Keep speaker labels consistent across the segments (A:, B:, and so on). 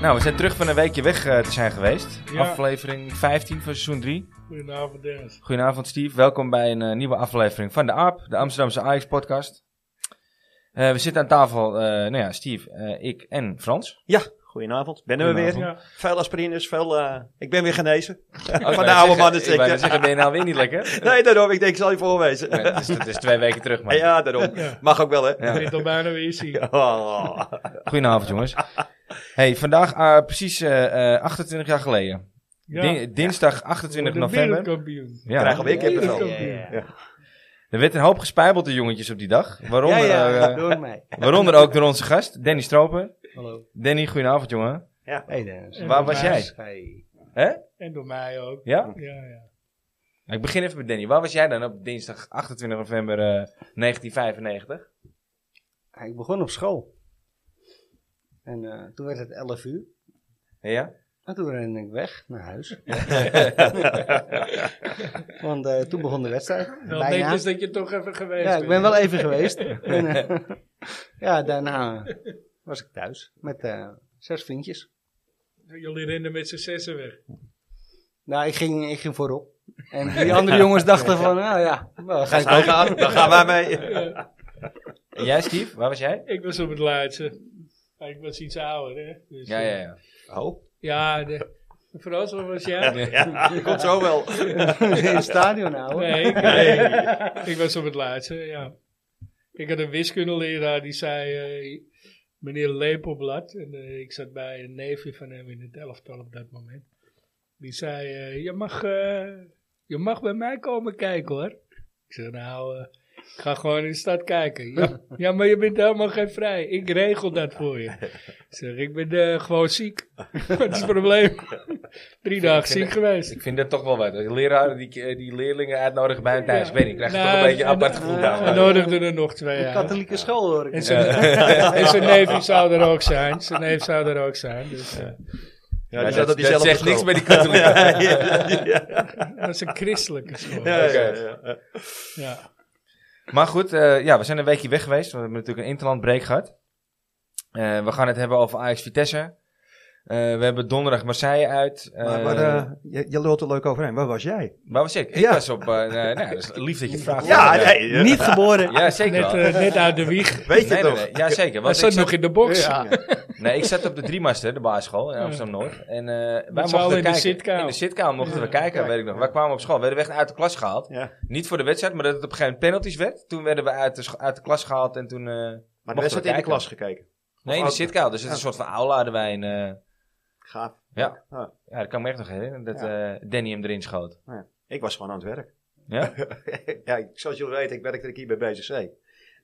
A: Nou, we zijn terug van een weekje weg eh, te zijn geweest.
B: Ja.
A: Aflevering 15 van seizoen 3.
B: Goedenavond, Dennis.
A: Goedenavond Steve, welkom bij een eh, nieuwe aflevering van de AAP, de Amsterdamse Ajax podcast. Eh, we zitten aan tafel, eh, nou ja, Steve, eh, ik en Frans.
C: Ja, goedenavond. Binnen we weer.
B: Ja.
C: Veel aspirines, veel... eh, ik ben weer genezen.
A: Oh, ik
C: van
A: wou
C: de oude
A: zeggen-
C: mannen
A: Ik wou net
C: zeker.
A: zeggen, ben je nou weer niet lekker?
C: Nee, daarom. Ik denk, ik zal je voorwezen.
A: Nee, dat, is, dat is twee weken terug, man.
C: Ja, daarom.
B: Ja.
C: Mag ook wel, hè?
A: Ja.
B: Ik zit al bijna weer zien.
C: Oh.
A: Goedenavond jongens. Hey, vandaag eh, precies eh, eh, 28 jaar geleden. Di- dinsdag 28
B: De
A: november.
B: wereldkampioen.
A: Ja,
C: Krijgen we weer kippenvel.
B: Ja,
D: ja, ja.
A: er werd een hoop gespijbeld de jongetjes op die dag. Waaronder,
D: ja, ja,
A: eh,
D: door mij.
A: waaronder ook door onze gast, Danny Stroper.
D: Hallo. Eh,
A: Danny, goedenavond jongen.
D: Hey Dennis.
B: En
A: Waar
B: door
A: was
B: mij.
A: jij?
D: Hey.
B: En door mij ook.
A: Ja?
B: Ja, ja.
A: Ik begin even met Danny. Waar was jij dan op dinsdag 28 november eh, 1995?
D: Ja, Ik begon op school. En eh, toen werd het 11 uur.
A: Ja?
D: En toen rende ik weg naar huis. Want eh, toen begon de wedstrijd.
B: Wel
D: Bijna.
B: netjes dat je toch even geweest
D: Ja,
B: bent.
D: ik ben wel even geweest. En, eh, ja, daarna was ik thuis met eh, zes vriendjes.
B: Jullie renden met z'n zessen weg.
D: Nou, ik ging, ik ging voorop. En die andere jongens dachten van, nou ja, wel, ga ik
C: Nou, gaan, dan gaan wij mee.
A: En jij, Steve? Waar was jij?
B: Ik was op het laatste. Maar ik was iets ouder, hè. Dus,
A: Ja, ja, ja.
C: Oh.
B: Ja, de, Frans, wat was jij?
C: Ja, komt zo wel.
D: in het stadion houden.
B: Nee, ik, nee. ik was op het laatste, ja. Ik had een wiskundeleraar die zei, eh, meneer Lepelblad, en eh, ik zat bij een neefje van hem in het elftal op dat moment. Die zei, eh, je, mag, eh, je mag bij mij komen kijken hoor. Ik zei, nou, eh, ik ga gewoon in de stad kijken. Ja, ja, maar je bent helemaal geen vrij. Ik regel dat voor je. Ik zeg, ik ben eh, gewoon ziek. Wat is het probleem? Drie dagen ziek geweest.
A: Dus Ik vind dat toch wel wat. Als leraren die, eh, die leerlingen uitnodigen bij hun thuis.
B: Ja.
A: Ik weet niet, ik krijg je
B: Nou,
A: toch een beetje een
B: en-
A: apart gevoel
D: en-
A: daarvan.
B: Hij nodigde er nog twee
D: Een
B: uit.
D: katholieke school hoor ik.
B: En zijn, en zijn neef zou er ook zijn. Zijn neef zou er ook zijn. Dus, eh,
C: Ja, die
A: dat
C: zat op
A: dat
C: diezelfde
A: zegt
C: school.
A: niks bij die katholieken.
C: Ja, ja, ja.
B: eh, dat is een christelijke school.
C: Ja,
B: Ja.
C: ja, ja.
A: Maar goed, eh, ja, we zijn een weekje weg geweest. We hebben natuurlijk een interlandbreak gehad. Eh, we gaan het hebben over Ajax Vitesse. Eh, we hebben donderdag Marseille uit. Eh,
E: Maar, maar eh, je, je lult er leuk overheen. Waar was jij?
A: waar was ik? Ik
E: Ja.
A: was op... eh, nou, ja, dat is lief dat je het vraagt.
C: Ja,
A: Eh,
C: nee. eh,
D: Niet geboren.
A: ja, zeker
B: Net,
A: wel.
B: eh, net uit de wieg.
C: Weet je
A: nee,
C: toch?
A: nee, nee. Ja, zeker.
B: Hij
A: Want ik,
B: zat
A: zat,
B: nog in de box.
D: Ja.
A: nee, ik zat op de Driemaster, de basisschool in Amsterdam-Noord. En eh, wij
B: z'n
A: mochten
B: allen in de
A: kijken.
B: zitkamer.
A: In de zitkamer mochten we kijken, weet ik nog. Wij kwamen op school. We werden echt uit de klas gehaald.
C: Ja.
A: Niet voor de wedstrijd, maar dat het op een gegeven moment penalties werd. Toen werden we uit de, scho- uit de klas gehaald en toen... eh,
C: Maar
A: we
C: de wedstrijd in de
A: kijken.
C: klas gekeken.
A: nee, in de
C: ook-
A: zitkamer. Dus het is een soort van aula hadden wij. in, eh,
C: Gaaf.
A: Ja.
C: Ah,
A: ja, dat kan ik me echt nog herinneren. Dat eh, Danny hem erin schoot.
C: Ik was gewoon aan het werk.
A: Ja?
C: ja, ik- zoals jullie weten, ik werkte hier bij BCC.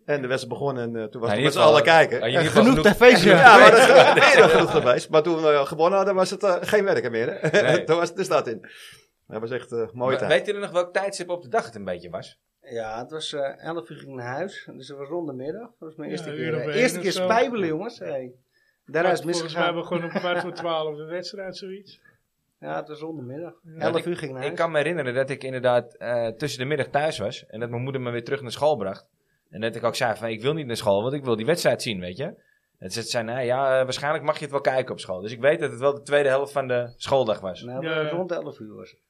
C: En de wedstrijd begon en eh, toen was
A: Ja, Nou,
C: het
A: in ieder
C: met z'n
A: geval- Oh,
C: allen kijken.
A: Ja, in
C: En
A: ieder geval
D: Genoeg
A: genoeg-
D: tv's.
C: Ja,
D: Ja.
C: maar dat is wel- nee, dat is goed geweest. Maar toen we eh, gewonnen hadden, was het eh, geen werken meer. Hè?
A: Nee.
C: toen was het de stad in. Dat was echt eh mooie
A: Maar
C: tijd.
A: Weet jullie nog welk tijdstip op de dag het een beetje was?
D: ja, het was eh 11 uur ging ik naar huis. Dus het was rond de middag. Dat was mijn
B: Ja,
D: eerste
B: een uur
D: keer.
B: of
D: eh,
B: één
D: eerste
B: of
D: keer
B: zo.
D: spijbelen, jongens. Hey. Daarna is het
B: Volgens mij
D: misgegaan.
B: begon om kwart voor twaalf de wedstrijd, zoiets.
D: Ja, het was rond de middag.
A: Want
D: 11 uur ging ik naar
A: Ik
D: huis.
A: kan me herinneren dat ik inderdaad eh, tussen de middag thuis was. En dat mijn moeder me weer terug naar school bracht. En dat ik ook zei van ik wil niet naar school, want ik wil die wedstrijd zien, weet je. En ze zei, nou ja, eh, waarschijnlijk mag je het wel kijken op school. Dus ik weet dat het wel de tweede helft van de schooldag was.
D: Nou,
B: Ja, ja.
D: rond 11 uur was het.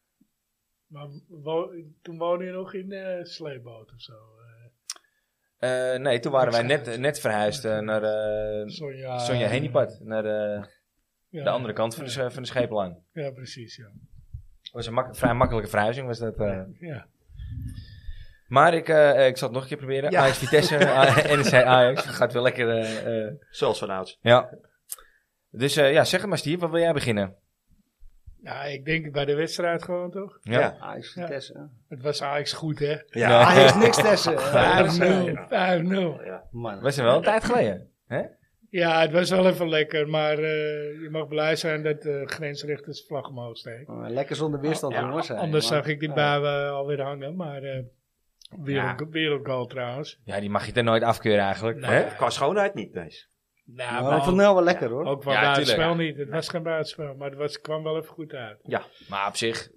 B: Maar wo- toen woonde je nog in eh sleeboot of zo. eh,
A: Eh, nee, toen waren wij net, net verhuisd eh, naar eh
B: Sonja,
A: Sonja Henipad. Naar eh,
B: Ja,
A: de andere kant van de, van de Schepelaan.
B: Ja, precies. Ja.
A: Het was een mak- vrij makkelijke verhuizing, was dat. eh.
B: Ja.
A: Maar ik, eh, ik zal het nog een keer proberen.
C: Ja.
A: Ajax Vitesse, NEC Ajax. Dat gaat wel lekker. eh, eh,
C: Zoals vanouds.
A: ja. Dus eh, ja, zeg het maar Steve, waar wil jij beginnen?
B: ja, ik denk bij de wedstrijd gewoon toch?
A: Ja.
C: Ja.
D: Ajax
B: Ja.
D: Vitesse. Ah, hè.
B: Het was Ajax goed, hè? 5-0.
C: Ja.
A: Ah, Ja.
D: Ajax niks tessen.
C: Vijf-nul.
B: 5-0.
D: Man.
A: Was er wel een tijd geleden? Hè?
B: Ja, het was wel even lekker, maar eh, je mag blij zijn dat de grensrechters vlag omhoog steken.
D: Oh, Lekker zonder weerstand, jongens. hey,
B: Anders
D: man.
B: zag ik die
D: Ja.
B: buien alweer hangen, maar eh wereld, wereldgoal trouwens.
A: Ja, die mag je er nooit afkeuren eigenlijk.
B: Nee.
A: Hè?
C: Qua schoonheid niet eens.
B: Nou,
D: Maar
B: maar
D: ik vond het wel wel lekker hoor.
B: ook wel
A: Ja,
B: buitenspel niet. Het was geen buitenspel, maar het was, kwam wel even goed uit.
A: Maar op zich,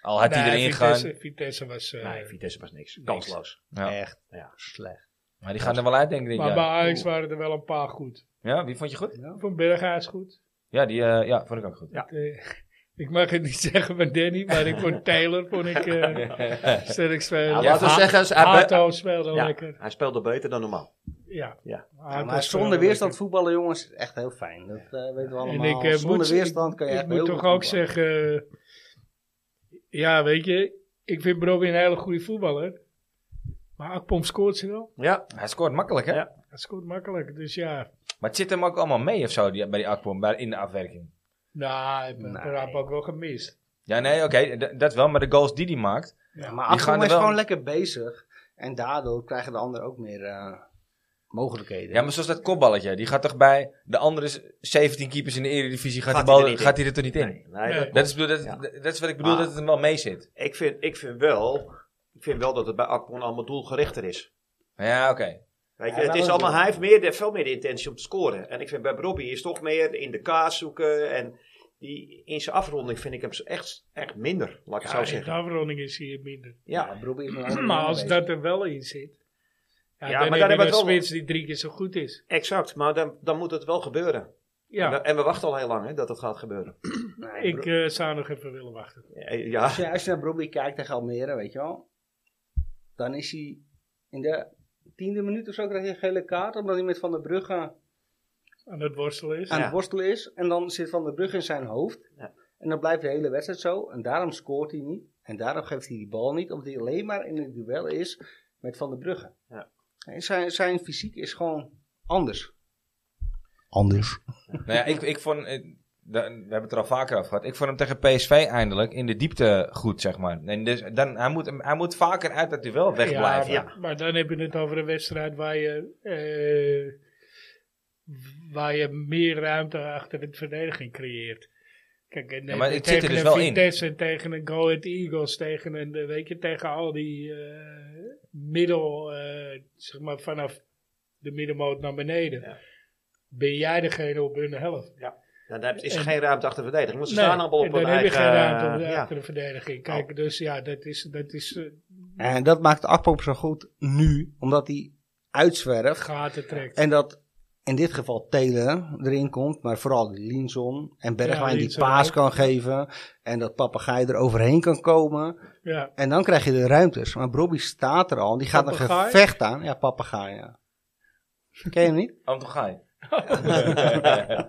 A: al had hij
B: Nee,
A: erin gegaan.
B: Vitesse, Vitesse was... eh,
C: Nee, Vitesse was niks. Kansloos.
A: Ja.
D: Echt
C: Ja.
D: slecht.
A: Maar die gaan er wel uit, denk ik. dit
B: maar bij
A: jaar.
B: Ajax waren er wel een paar goed.
A: Ja, wie vond je goed?
B: Van Berghuis goed.
A: Ja, die eh, ja, vond ik ook goed.
F: Ja.
B: Eh, ik mag het niet zeggen van Danny, maar ik vond Taylor vond ik eh sterk
A: Ja,
B: spelen.
G: laten we
A: Ha-
G: zeggen, hij, be-
B: Hato speelde
G: Ja.
B: lekker.
G: hij speelde beter dan normaal.
B: Ja.
G: Ja.
D: Ja,
B: Hato speelde
D: maar zonder weerstand
B: eh, lekker.
D: voetballen, jongens, is echt heel fijn. Dat eh, weten we allemaal.
B: ik, eh,
D: zonder
B: moet-
D: weerstand kan je echt
B: Ik
D: heel
B: moet
D: goed
B: toch ook
D: voetballen.
B: zeggen, eh, ja weet je, ik vind Broby een hele goede voetballer. Maar Akpom scoort ze wel.
G: Ja,
A: Hij scoort makkelijk, hè?
G: Ja.
B: Hij scoort makkelijk, dus ja.
A: Maar het zit hem ook allemaal mee of zo die, bij die Akpom, bij- in de afwerking.
B: Nou, hij heeft
D: Nee.
B: Raap ook wel gemist.
A: Ja, nee, oké, d- dat wel. Maar de goals die hij maakt,
D: Ja, maar
A: Die gaan
D: Afgrom
A: er
D: is
A: wel-
D: gewoon lekker bezig. En daardoor krijgen de anderen ook meer eh, mogelijkheden.
A: Ja, maar zoals dat kopballetje. Die gaat toch bij de andere s- 17 keepers in de Eredivisie. Gaat,
G: Gaat
A: die bal,
G: hij er niet
A: gaat hij er toch niet in?
G: nee, nee,
B: Nee.
G: dat-
A: Dat, is, bedoel- dat,
G: Ja.
A: dat is wat ik bedoel,
G: Maar-
A: dat het hem wel mee zit.
G: ik, vind, ik, vind wel, ik vind wel dat het bij Akpon allemaal doelgerichter is.
A: Ja, oké.
G: Weet je,
D: Ja,
G: het
D: dat
G: is
D: is
G: allemaal,
D: wel.
G: hij heeft meer, de- veel meer de intentie om te scoren. En ik vind bij Robbie is toch meer in de kaas zoeken. En die, in zijn afronding vind ik hem echt, echt minder, laat
B: Ja,
G: ik het zo
B: in de
G: zeggen.
B: afronding is hier minder.
D: Ja,
G: Ja,
D: Brobbey is een andere
B: Maar
D: man
B: als
D: bezig.
B: dat er wel in zit. Ja,
G: Ja,
B: dan
G: maar
B: heb
G: dan
B: je
G: hebben
B: een
G: we het wel-
B: spits die drie keer zo goed is.
G: exact. Maar dan, dan moet het wel gebeuren. En, we,
B: Ja,
G: en we wachten al heel lang hè, dat het gaat gebeuren. eh,
D: Nee,
B: ik
D: Bro-
B: eh, zou nog even willen wachten.
G: Ja,
D: als, je, als je naar Brobbey kijkt tegen Almere, weet je wel. Dan is hij in de tiende minuut of zo krijgt hij een gele kaart. Omdat hij met Van der Brugge
B: Aan het worstelen is.
D: aan
G: Ja.
D: het worstelen is. En dan zit Van der Brugge in zijn hoofd.
G: Ja.
D: En dan blijft de hele wedstrijd zo. En daarom scoort hij niet. En daarom geeft hij die bal niet. Omdat hij alleen maar in het duel is met Van der Brugge.
G: Ja.
D: En Zijn, zijn fysiek is gewoon anders. Anders.
A: Nou ja, ik, ik vond. eh, da- We hebben het er al vaker over gehad. Ik vond hem tegen PSV eindelijk in de diepte goed, zeg maar. En dus dan, hij, moet, hem- hij moet vaker uit dat duel wegblijven.
B: Ja, maar, maar dan heb je het over een wedstrijd waar je, eh, waar je meer ruimte achter de verdediging creëert. Kijk, en,
A: Ja, maar
B: eh,
A: het
B: tegen
A: zit er dus
B: een
A: wel in.
B: Vitesse, tegen een Go Ahead Eagles, tegen een, eh, weet je, tegen al die eh, middel, eh, zeg maar vanaf de middenmoot naar beneden.
G: Ja.
B: Ben jij degene op hun helft?
G: dan heb- is er
B: En-
G: geen ruimte achter verdediging. Want ze
B: Nee,
G: staan allemaal op
B: en dan
G: hun
B: heb je
G: eigen...
B: geen ruimte
G: eh, ja.
B: achter de verdediging. Kijk, dus ja, dat is, dat is eh,
D: En dat maakt Akpop zo goed nu. Omdat hij uitzwerft.
B: gaten trekt.
D: En dat in dit geval Telen erin komt. Maar vooral Linson en Bergwijn die
B: Linson
D: paas
B: ook.
D: kan geven. En dat papegaai er overheen kan komen.
B: ja.
D: En dan krijg je de ruimtes. Maar Bobby staat er al. Die gaat een
B: Papegaai?
D: gevecht aan. Ja, papegaai. Ja. Ken je hem niet?
A: Anton Gaai.
B: Ja,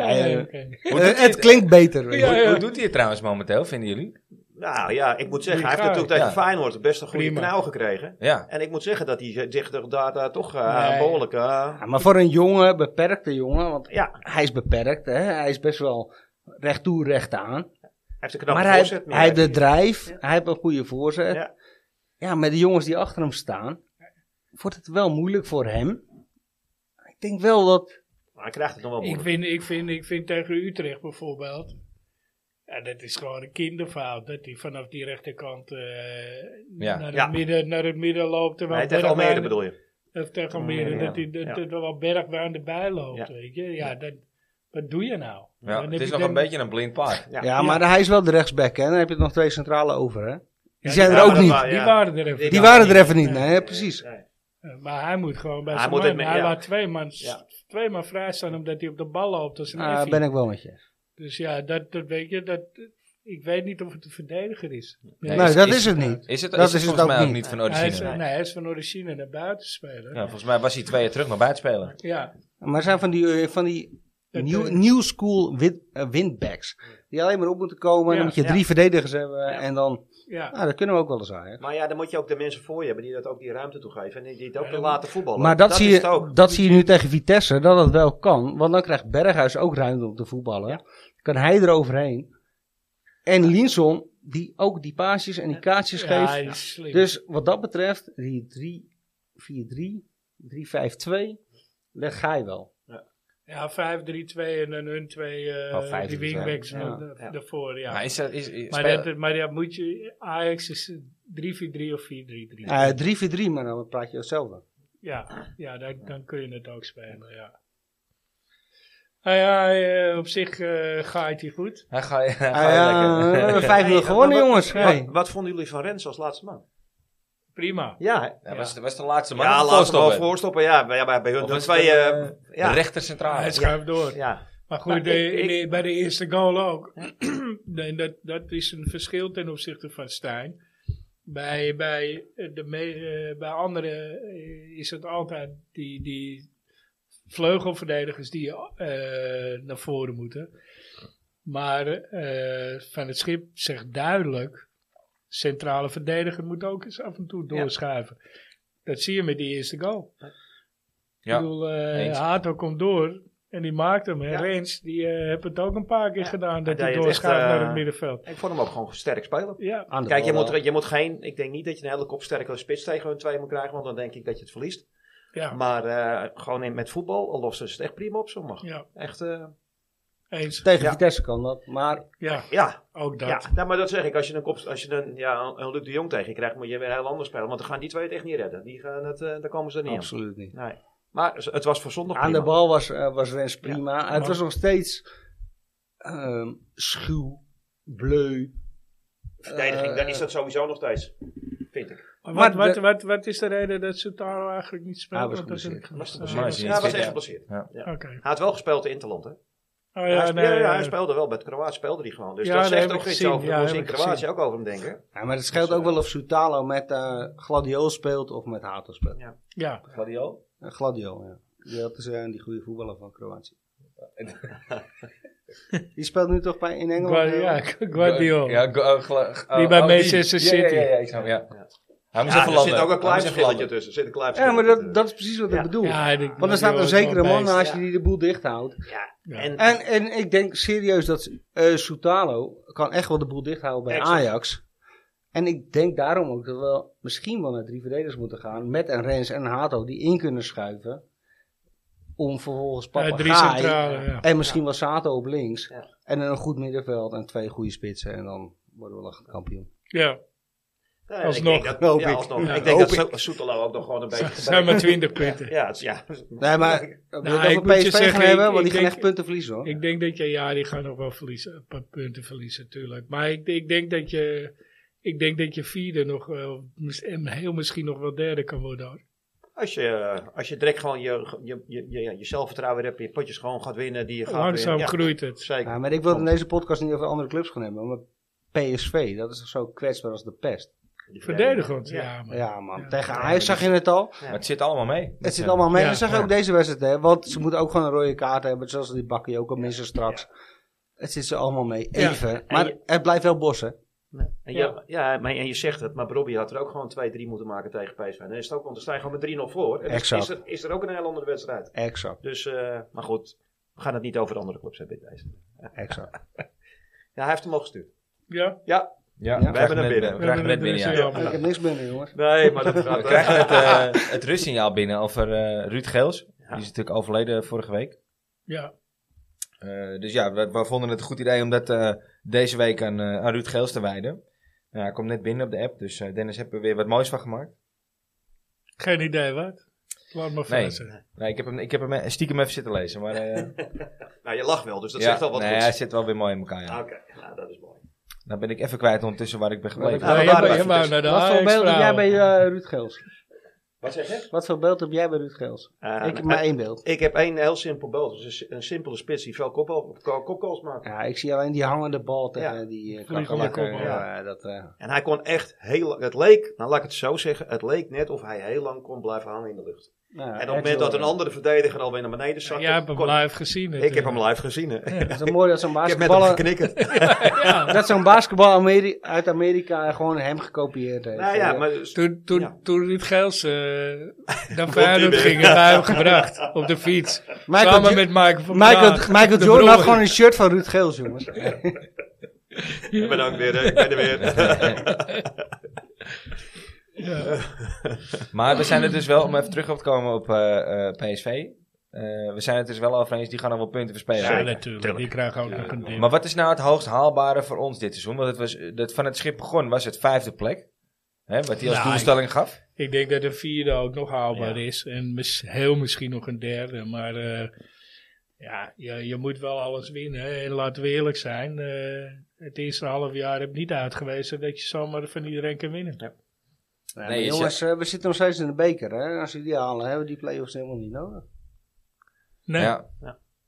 D: Ja,
B: nee,
D: ja.
B: oké.
A: Hoe doet
D: Eh,
A: hij
D: het klinkt beter. weet je.
B: Ja,
A: Hoe,
B: ja.
A: hoe doet hij het trouwens momenteel, vinden jullie?
G: Nou ja, ik moet zeggen, hij heeft
B: Ja.
G: natuurlijk tegen
A: Ja.
G: Feyenoord best een goede
B: Prima.
G: knauw gekregen.
A: Ja.
G: En ik moet zeggen dat hij zich er daar, daar toch eh,
B: Nee.
G: behoorlijk... eh,
D: Ja, maar voor een jongen, beperkte jongen. Want
G: ja,
D: hij is beperkt. Hè? Hij is best wel recht toe, recht aan.
G: hij heeft een knappe
D: Maar hij,
G: voorzet.
D: hij heeft de
G: meer.
D: drijf. Hij heeft een goede voorzet.
G: Ja.
D: Ja. met de jongens die achter hem staan. Wordt het wel moeilijk voor hem. Ik denk wel dat...
G: Maar hij krijgt het nog wel
B: Ik
G: moeilijk.
B: vind, ik, vind, ik vind tegen Utrecht bijvoorbeeld. Ja, dat is gewoon een kinderfout. Dat hij vanaf die rechterkant eh,
A: Ja.
B: naar, het
G: Ja.
B: midden, naar het midden loopt. Terwijl
G: Nee, tegen
B: Bergwijn-
G: Almere bedoel je.
B: Of tegen Almere.
G: Mm, ja.
B: Dat hij dat,
G: Ja.
B: dat er wel Bergwijn erbij loopt.
G: Ja.
B: Weet je? Ja, dat, wat doe je nou?
A: ja
B: Dan
A: het
B: heb
A: is
B: je
A: nog
B: dan-
A: een beetje een blind paard.
D: Ja,
G: Ja.
D: maar hij is wel de rechtsback. Hè? Dan heb je er nog twee centrale over. Hè? Die
B: Ja,
D: zijn
B: die
D: er ook
G: maar dat
D: niet.
G: wa-
B: Die
G: ja.
B: waren er even.
G: Die
D: die
G: waren
D: waren
G: niet.
D: er even niet.
B: Nee.
D: Nee, precies.
G: Nee.
B: Eh, Maar hij moet gewoon bij
G: Hij
B: zijn
G: moet
B: man.
G: het met-
B: hij
G: ja.
B: laat twee man,
G: Ja.
B: twee man vrij staan omdat hij op de bal loopt. als een
D: Ah,
B: effie.
D: ben ik wel met je.
B: Dus ja, dat, dat weet je. Dat, ik weet niet of het een verdediger is.
A: Nee,
D: Nee,
A: is-
D: Nou, dat
A: is-
D: is het niet.
A: Is het,
D: Dat
A: is het
D: is het
A: volgens
D: ook
A: mij ook
D: niet.
A: niet van
B: Hij is,
A: origine?
B: nee, hij is van origine naar buiten spelen.
A: Oh, Ja,
B: Ja.
A: volgens mij was hij twee jaar terug nog buitenspelen.
D: Maar het zijn van die, eh, van die
B: Dat
D: new,
B: doe-
D: new school win- eh, windbacks. Die alleen maar op moeten komen. En
B: Ja,
D: dan moet je
G: ja.
D: drie verdedigers hebben. En dan,
B: ja.
D: nou, dat kunnen we ook wel eens aan. hè.
G: Maar ja, dan moet je ook de mensen voor je hebben die dat ook die ruimte toegeven. En die het ook
B: Ja,
G: te
B: dan-
G: laten voetballen.
D: Maar dat, zie,
G: is het
D: je,
G: ook.
D: dat zie je nu tegen Vitesse, dat dat wel kan. Want dan krijgt Berghuis ook ruimte om te voetballen. Kan hij er overheen. En Linson, die ook die paasjes en die kaartjes
B: Ja, hij
D: geeft.
B: is slim.
D: Dus wat dat betreft, die 3-4-3, 3-5-2, leg ga je wel.
B: ja, 5-3-2 en dan hun twee eh,
A: Oh, 5-3-2,
B: die wingbacks
D: ja.
B: van de-
G: Ja.
B: daarvoor. Ja.
A: Maar, is dat, is, is-
B: maar,
A: spelen-
B: dat, maar ja, moet je, Ajax is eh, 3-4-3 of 4-3-3.
D: Eh, 3-4-3, maar dan praat je hetzelfde.
B: Ja, ja dan, dan kun je het ook spelen. Ja. Nou ja, eh, op zich eh gaat hij goed.
A: hij gaat hij
D: Ah,
A: gaat
D: ja, we
A: lekker.
D: hebben 5-0
G: Hey,
D: gewonnen,
G: wat-
D: jongens.
G: Wat,
D: Hey.
G: wat vonden jullie van Rens als laatste man?
B: Prima.
G: Ja, hè?
A: Ja, was, was de laatste man.
G: ja
A: Ja,
G: laatste
A: laatste
G: bal voorstoppen. Ja, bij, ja, bij, bij hun
A: Of
G: de
A: is
G: twee...
A: het,
G: eh,
A: Ja.
G: ja.
A: Rechter centraal.
B: hij schuift door.
G: ja.
B: Maar goed,
G: Maar
B: eh,
G: Nou, ik-
B: in de-
G: ik-
B: bij de eerste goal ook. en dat, dat is een verschil ten opzichte van Stijn. Bij, bij, eh, de me- eh, bij anderen eh, is het altijd die, die vleugelverdedigers die eh, naar voren moeten. Maar eh, Van het Schip zegt duidelijk, centrale verdediger moet ook eens af en toe doorschuiven. Dat zie je met die eerste goal.
A: Ja.
B: Ik bedoel, eh,
A: Eens.
B: Hato komt door en die maakt hem. En
G: Ja.
B: Rens, die eh, heeft het ook een paar keer
G: Ja.
B: gedaan
G: Hij
B: dat hij
G: deed het echt,
B: doorschuift naar het
G: eh,
B: middenveld.
G: Ik vond hem ook gewoon sterk spelen.
B: Ja,
D: Aan de
G: Kijk, je
D: bal wel.
G: moet, je moet geen. Ik denk niet dat je een hele kopsterke spits tegen hun twee moet krijgen, want dan denk ik dat je het verliest.
B: ja,
G: Maar eh, gewoon in, met voetbal lossen ze het echt prima op zondag.
B: ja,
G: Echt, eh,
B: eens.
D: Tegen
G: Ja.
D: Vitesse kan dat, maar
B: Ja,
G: ja,
B: ook dat.
G: ja. Nou, maar dat zeg ik. Als je een, kop, als je een, ja, een Luc de Jong tegen krijgt, moet je weer heel anders spelen. Want dan gaan die twee het echt niet redden. Die gaan het, eh, daar komen ze er niet aan.
D: absoluut niet.
G: Nee. Maar het was voor zondag
D: Aan de
G: prima.
D: bal was, eh, was Rens prima. het
B: maar-
D: was nog steeds ehm, schuw, bleu.
G: Verdediging,
D: Eh,
G: dan is dat sowieso nog steeds. Vind ik.
B: Maar
D: Maar
B: wat, wat,
D: de-
B: wat, wat is de reden dat Soutaro eigenlijk niet speelt?
D: Hij was
B: Want dat is
D: geblesseerd.
B: een-
G: Was het
A: Maar is
G: geblesseerd?
A: hij
G: Ja, hij was
A: fit, ja.
G: echt geblesseerd.
A: Ja.
B: Ah, Oké.
G: Hij had wel gespeeld in Interland, hè?
B: Oh
G: hij,
B: ja,
G: speelde,
B: nee,
G: ja,
B: ja,
G: hij speelde wel bij het Kroatië, speelde hij gewoon. Dus
B: Ja,
G: dat
B: dat heb
G: zegt
B: ik
G: ook iets
B: gezien.
G: over
B: Ja,
G: hoe ze
B: heb
G: in
B: ik
G: Kroatië
B: gezien.
G: ook over hem denken.
D: ja, maar het scheelt ook wel of Soutalo met eh Gladiool speelt of met Hato speelt.
B: ja.
A: Guardiola?
D: Eh, Gladiool, ja. Die, had dus, eh, die goede voetballer van Kroatië. die speelt nu toch bij, in Engeland?
B: Guardi-
D: eh?
B: ja, Guardiola.
A: Ja, Gu- eh, Gla- eh,
B: Die bij
A: oh,
B: Manchester
A: Ja, ja,
B: City.
A: ja, ja, ik snap, ja.
G: Ja.
A: Hij moest
G: Ja,
A: even
G: er
A: landen.
G: zit ook een
A: Hij
G: klein
A: moest even
G: verschilletje
A: landen.
G: tussen. Er zit een klein
D: Ja, maar
G: verschilletje
D: dat, dat is precies wat
G: Ja.
D: ik bedoel.
B: Ja, die-
D: Want er staat
B: Guardiola
D: een
B: is wel
D: zekere man
B: beest.
D: naast
G: Ja.
D: je die de boel dicht houdt.
G: tussen. Ja,
B: Ja.
G: en,
D: En, en ik denk serieus dat eh Soutalo kan echt wel de boel dicht houden bij
G: Exact.
D: Ajax. En ik denk daarom ook dat we wel misschien wel naar drie verdedigers moeten gaan. Met een Rens en een Hato die in kunnen schuiven. Om vervolgens
B: Ja, drie
D: Papagaai
B: centrale. Ja.
D: en misschien wel Sato op links.
G: Ja.
D: En een goed middenveld en twee goede spitsen. En dan worden we wel echt kampioen.
B: ja.
G: Ja, en
B: Alsnog,
G: Ik denk dat,
D: hoop
G: ja,
D: ik.
G: alsnog.
D: Ja,
G: ik denk
D: hoop
G: dat Zo- Soetelo ook nog gewoon een beetje...
B: Het zijn maar twintig punten.
G: Ja, het is- ja.
D: Nee, maar dat
B: Nou,
D: we
B: ik moet je
D: PSV gaan
B: zeggen,
D: hebben,
B: ik-
D: want
B: ik
D: die gaan
B: denk-
D: echt punten verliezen hoor.
B: Ik denk dat je, ja, die gaan nog wel verliezen, een paar punten verliezen natuurlijk. Maar ik, ik denk dat je, ik denk dat je vierde nog, wel, mis- en heel misschien nog wel derde kan worden. hoor.
G: Als je, als je direct gewoon je, je, je, je, je zelfvertrouwen hebt, je potjes gewoon gaat winnen, die je gaat
B: Langzaam
G: winnen.
B: groeit het.
G: Zeker.
D: Ja, maar ik
G: Oh.
D: wil het in deze podcast niet over andere clubs gaan hebben. Maar PSV, dat is toch zo kwetsbaar als de pest.
G: Die
B: Verdedigend, ja.
G: Ja.
B: maar-
D: Ja, man.
B: Ja.
D: Tegen
G: Ja,
D: Ajax
G: maar
D: zag je het al.
A: Maar het zit allemaal mee.
D: Het zit allemaal mee.
B: Ja.
D: Dat zag je ook deze wedstrijd, hè. Want ze moeten ook gewoon een rode kaart hebben. Zoals die bakkie ook al missen straks. Het zit ze allemaal mee.
B: Ja.
D: Even.
G: En
D: Maar
G: je-
D: het blijft wel bossen.
G: En, ja. Ja, maar, en je zegt het, maar Robbie had er ook gewoon 2-3 moeten maken tegen PSV. Dan is het ook, want er staan gewoon met 3-0 voor. En is-
D: Exact.
G: Is er, is er ook een heel andere wedstrijd.
D: Exact.
G: Dus, eh, maar goed, we gaan het niet over andere clubs hebben in deze.
D: Exact.
G: Ja, hij heeft hem al gestuurd.
B: Ja,
G: Ja,
A: Ja,
D: we
A: we
G: hebben
A: krijgen
G: hem
A: net
G: binnen.
A: binnen. We krijgen
B: We
A: net
B: hebben
A: binnen, ja.
B: hem binnen,
D: Ik heb niks binnen, jongens.
G: nee, maar dat
A: We
G: gaat...
A: krijgen het, eh het rustsignaal binnen over eh, Ruud Geels. Die is natuurlijk overleden vorige week.
B: ja.
A: Eh, dus ja, we, we vonden het een goed idee om dat eh, deze week aan, eh, aan Ruud Geels te wijden. Nou, hij komt net binnen op de app, dus eh, Dennis heeft er weer wat moois van gemaakt.
B: Geen idee wat. Laat maar
A: Nee.
B: verrassen.
A: Nee, ik, heb hem, ik heb hem eh, stiekem even zitten lezen. Maar, eh,
G: Nou, je lacht wel, dus dat
A: ja,
G: zegt al wat
A: nee,
G: goeds.
A: hij zit wel weer mooi in elkaar. Ja.
G: Oké, nou, dat is mooi.
A: Dan ben ik even kwijt ondertussen waar ik ben gebleven.
G: Ja,
B: Nee,
G: we
B: jij
G: waren
B: wou-
G: bij
B: jij wou
G: Vitesse.
B: naar de
D: Wat voor beeld heb jij
B: Ajax-vrouwen.
D: bij eh, Ruud Geels?
G: Wat zeg je? Eh,
D: Wat voor beeld heb jij bij Ruud Geels? ik heb maar één beeld.
G: Ik heb één heel simpel beeld. Dus een, si- een simpele spits die veel kopbal- ko- kopgoals maakt.
D: Ja, ik zie alleen die hangende bal tegen
G: Ja.
D: die uh,
B: Vliegende
D: kakkelakken.
B: kopbal.
D: Ja, dat... eh,
G: En hij kon echt heel lang... Het leek, nou laat ik het zo zeggen... Het leek net of hij heel lang kon blijven hangen in de lucht.
D: nou,
G: en op het moment dat een andere verdediger alweer naar beneden
B: Ja,
G: zakte...
B: jij hebt hem
G: eh, kon-
B: live gezien
G: ik heb
B: natuurlijk.
G: hem live gezien. Hè.
D: Het is toch mooi dat
G: Ik
D: zo'n
G: heb met hem
D: basketballer...
G: geknikkerd.
B: Ja.
D: Dat zo'n basketbal Ameri- uit Amerika gewoon hem gekopieerd heeft.
G: nou ja, maar... dus-
B: Toen, toen,
G: Ja.
B: toen Ruud Geels eh naar
G: hij
B: Feyenoord
G: weer.
B: ging, hebben wij hem gebracht op de fiets.
D: Michael
B: Samen
D: Jo-
B: met Michael van
D: Michael,
B: Praag.
D: Michael
B: De
D: Jordan had
B: broer.
D: gewoon een shirt van Ruud Geels, jongens.
G: Ik ben ook weer... hè. Ik ben er weer.
B: Ja.
A: Maar we zijn het dus wel, om even terug op te komen op eh, eh, PSV. eh, we zijn het dus wel over eens, die gaan al wel punten verspelen.
B: Ja, natuurlijk. Die krijgen ook nog een dip.
A: Maar wat is nou het hoogst haalbare voor ons dit seizoen? Want het was, eh, dat van het schip begon was het vijfde plek. Hè, wat hij als
B: Nou,
A: doelstelling gaf.
B: Ik denk dat de vierde ook nog haalbaar is. En mis- heel misschien nog een derde. Maar eh, ja, je, je moet wel alles winnen. hè. En laten we eerlijk zijn. eh, het eerste half jaar heb niet uitgewezen dat je zomaar van iedereen kan winnen.
D: Nee,
A: je
D: jongens, eh, we zitten nog steeds in de beker.
A: Oh,
D: Hè? Als we die halen, hebben we die play-offs helemaal niet nodig.
B: Nee,
A: Ja.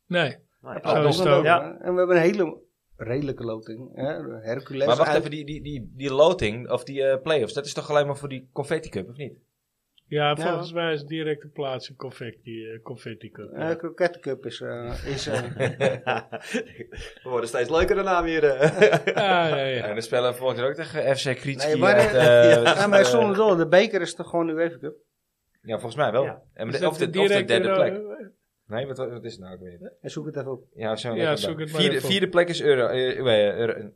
B: nee.
C: Nou,
B: Zo
D: Paul
B: is het
D: Dongen
B: ook.
D: lopen, hè. En we hebben een hele redelijke loting. Hè? Hercules
G: dus
A: Maar wacht
D: uit.
A: even, die, die, die, die loting, of die eh play-offs, dat is toch alleen maar voor die confetti cup, of niet?
B: Ja, volgens mij is direct de plaats een confetti, eh, confetti cup. ja.
D: Eh, Croquette Cup is... eh, is eh,
C: We worden steeds leuker daarna weer. eh.
B: Ja, ja,
A: Ja.
B: ja.
A: En we spelen volgens jaar ook tegen FC Kritici.
D: nee, maar,
A: uit,
D: eh,
A: eh,
D: ja, maar
A: eh,
D: zonder dolle, de beker is toch gewoon de UEFA Cup?
A: Ja, volgens mij wel.
C: Ja.
A: En
B: Is
A: de, of, de,
B: Dus dat
A: of de
B: direct
A: derde
B: Euro-
A: plek. Nee, wat, wat is het nou ook weer?
D: En zoek het even op.
A: Ja, zo
B: Ja,
A: lekker
B: zoek
A: bij.
B: het maar
A: vierde,
B: even op.
A: vierde plek is Euro. eh, eh, Euro-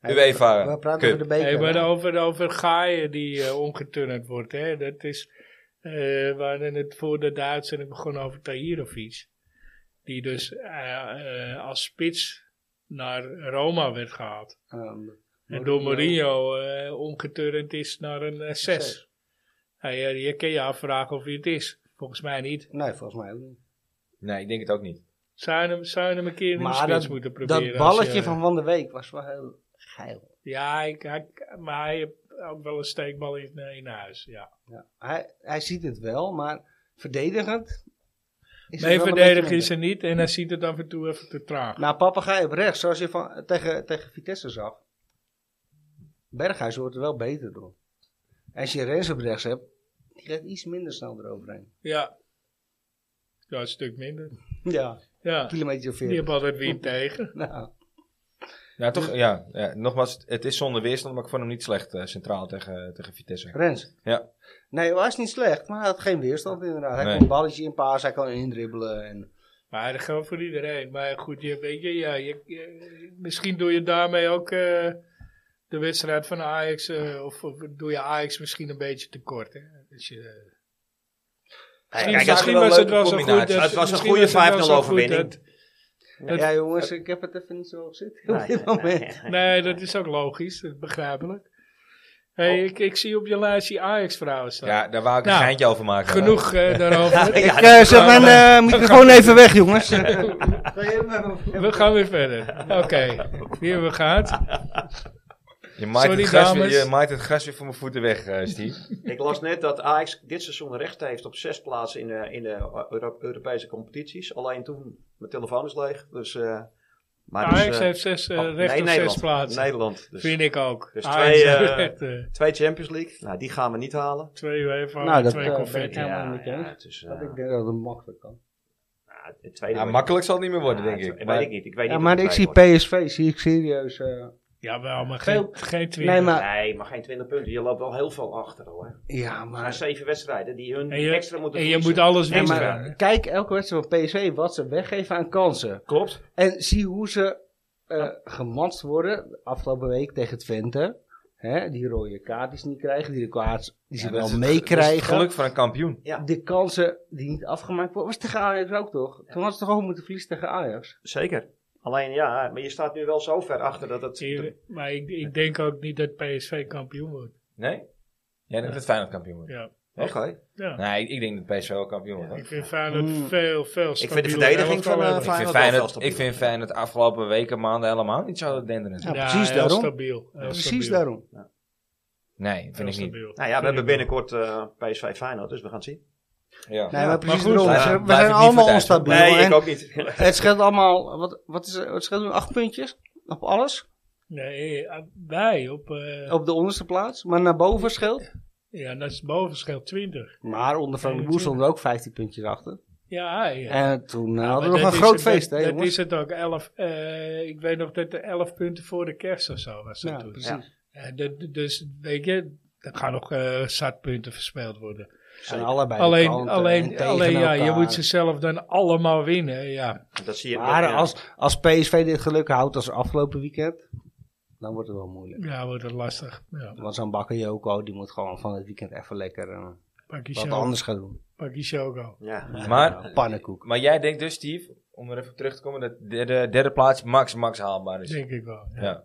D: Hey,
A: UEFA
D: We praten
A: Cup.
D: over de beker.
B: Hey, maar over, over gaaien die eh, omgeturnd wordt, hè, dat is. eh we hadden het voordat de uitzending begon over Tahirovic. Die dus eh, eh, als spits naar Roma werd gehaald.
D: Ehm,
B: En door Mourinho eh omgeturnd is naar een eh, 6. Nou ja, je kan je afvragen of hij het is. Volgens mij niet.
D: Nee, volgens mij ook niet.
A: Nee, ik denk het ook niet.
B: Zou je hem, zou je hem een keer in de
D: Maar
B: spits
D: dat,
B: moeten
D: dat
B: proberen? als
D: balletje
B: je-
D: van Van der Week was wel heel geil.
B: Ja, ik, hij- maar hij heeft ook wel een steekbal in, eh, in huis, ja.
D: Ja. Hij, hij ziet het wel, maar verdedigend... Is
B: Nee,
D: het wel een
B: verdedigen
D: beetje
B: is er niet en hij ziet het af en toe even te traag.
D: Nou, papegaai op rechts, zoals je van, tegen, tegen Vitesse zag. Berghuis wordt er wel beter door. Als je Rens op rechts hebt, die gaat iets minder snel eroverheen.
B: Ja. Ja, een stuk minder.
D: Ja.
B: Ja,
D: Kilometer of
B: die
D: 40.
B: hebben altijd weer tegen.
D: Nou,
A: Ja, Nou, toch, ja, ja, nogmaals, het is zonder weerstand, maar ik vond hem niet slecht eh, centraal tegen, tegen Vitesse.
D: Rens.
A: Ja.
D: Nee, hij was niet slecht, maar hij had geen weerstand inderdaad. Hij
A: Nee.
D: kon een balletje in paas, hij kon indribbelen. En...
B: Maar dat geldt voor iedereen. Maar goed, je, weet je, ja, je, je- misschien doe je daarmee ook eh, de wedstrijd van Ajax, eh, of, of doe je Ajax misschien een beetje tekort. Hè? Dus je,
C: Hey,
B: misschien
C: kijk, als-
A: we
B: misschien
A: wel
B: was het
A: leuke
B: wel zo goed.
A: combinaties.
B: Dat,
C: Het was een
B: misschien
C: goede
B: het wel zo
C: 5-0
B: goed
C: overwinning.
B: dat-
D: Ja,
B: Het-
D: jongens, ik heb het even niet zo op zitten op dit
C: Nee,
D: moment.
C: nee, nee.
B: Nee, dat is ook logisch, dat is begrijpelijk. Hey,
C: Oh.
B: ik, ik zie op je lijstje Ajax-vrouwen staan.
A: Ja, daar wou ik een
B: Nou,
A: geintje over maken.
B: Genoeg eh, daarover.
C: Ja,
D: Ik
C: dat
D: eh,
C: is
D: zet
C: wel-
D: mijn eh, microfoon even weg, jongens.
B: We gaan weer verder. Oké, hier hebben we gehad.
A: Je maait,
B: Sorry,
A: het gras weer,
B: dames.
A: je maait het gras weer voor mijn voeten weg, eh, Steve.
C: Ik las net dat Ajax dit seizoen recht heeft op zes plaatsen in de, in de Euro- Europese competities. Alleen toen, mijn telefoon is leeg. Dus, eh, maar dus,
B: Ajax
C: eh,
B: heeft zes, eh,
C: oh,
B: recht op
C: Nederland,
B: zes plaatsen.
C: Nederland. Dus
B: Vind ik ook.
C: dus
B: Ajax
C: twee,
B: heeft
C: eh,
B: echt, eh,
C: twee Champions League. Nou, die gaan we niet halen.
B: twee UEFA,
D: Nou, dat,
B: twee
D: eh, ben ik
B: confetti.
D: helemaal met je eens.
C: het is, eh,
D: Dat ik denk dat het makkelijk kan.
C: nou, het tweede
A: Ja,
C: wordt-
A: makkelijk zal het niet meer worden,
C: Ja,
A: denk
C: het-
A: ik.
C: weet
A: Maar-
C: ik niet. Ik weet
D: Ja,
C: niet
D: maar
C: of het
D: ik zie
C: twee
D: PSV, zie ik serieus. eh,
B: Jawel, maar geen, geen twintig.
D: Nee, maar-
C: wordt. Nee, maar geen 20 punten. Je loopt wel heel veel achter hoor.
D: ja,
C: Maar
D: maar.
C: zeven wedstrijden die hun
B: en je,
C: extra moeten
B: en je
C: verliezen.
B: moet alles
D: Ja,
B: winnen.
D: maar kijk elke wedstrijd van PSV wat ze weggeven aan kansen.
C: Klopt.
D: En zie hoe ze eh gematst worden. Afgelopen week tegen Twente. Hè, die rode kaart die ze niet krijgen. Die, kaart die ze
A: Ja, dat
D: wel
A: is het- Dat is het
D: meekrijgen.
A: geluk van een kampioen.
D: De kansen die niet afgemaakt worden. Was tegen Ajax ook toch? Toen hadden ze toch ook moeten verliezen tegen Ajax.
C: Zeker. Alleen ja, maar je staat nu wel zo ver achter dat het...
B: Hier- maar ik, ik denk ook niet dat PSV kampioen wordt.
A: Nee? Jij denkt dat Feyenoord kampioen wordt?
B: Ja.
C: Oké.
B: ja.
A: Nee, ik, ik denk dat PSV wel kampioen wordt. hoor.
B: Ik vind Feyenoord
D: Mm.
B: veel, veel
C: vind de
B: stabieler
C: verdediging
B: elftal
C: van, eh,
B: hebben.
A: Ik vind
C: Feyenoord wel
A: Feyenoord,
C: veel
A: ik vind Feyenoord afgelopen weken, maanden helemaal niet zo denderend.
D: Ja,
B: Ja,
D: precies
B: heel
D: daarom.
B: Stabiel, heel
D: Precies
B: stabiel.
D: daarom.
A: Nee,
B: Heel
A: vind ik niet.
B: stabiel.
C: Nou ja,
B: Vind
C: we hebben
B: ik wel.
C: binnenkort eh, PSV Feyenoord, dus we gaan het zien.
A: Ja.
D: Nee, maar precies
B: goed,
D: daarom.
A: blijf-
D: Ze- we
A: blijf
D: zijn
A: ik niet
D: allemaal
A: verduisterd.
D: onstabiel.
C: Nee,
D: en
C: ik ook niet.
D: Het scheelt allemaal. Wat, wat is, het scheelt nu acht puntjes? Op alles?
B: Nee, eh, wij op... eh,
D: Op de onderste plaats. Maar naar boven scheelt.
B: Ja, dat is boven scheelt 20.
D: Maar onder Frank de Boer stond er ook 15 puntjes achter.
B: Ja, ja.
D: En toen eh, hadden we
B: Maar
D: nog
B: dat
D: een
B: is
D: groot
B: het-
D: feest, hè
B: Dat, dat is
D: jongens?
B: het ook. Elf, eh, ik weet nog dat er 11 punten voor de kerst of zo was. dat
D: Ja,
B: toen.
D: precies.
B: Eh, dat- dus weet je, er gaan nog eh zat punten verspeeld worden.
D: Aan allebei de
B: alleen,
D: kanten eh, en
B: alleen,
D: tegen
B: alleen ja, je
D: elkaar.
B: moet ze zelf dan allemaal winnen. Ja,
C: Dat zie je. dat-
D: Maar
C: ja.
D: als, als PSV dit geluk houdt als afgelopen weekend, dan wordt het wel moeilijk.
B: ja wordt het lastig. Ja.
D: Want zo'n bakker Joko, die moet gewoon van het weekend even lekker eh,
B: Pak je
D: wat
B: show-
D: anders gaan doen.
B: pak je Shogo.
C: Ja.
A: Maar,
D: Eh, pannenkoek.
A: maar jij denkt dus, Steve, om er even op terug te komen, dat derde, derde plaats max, max haalbaar is.
B: Denk ik wel. Ja.
A: Ja.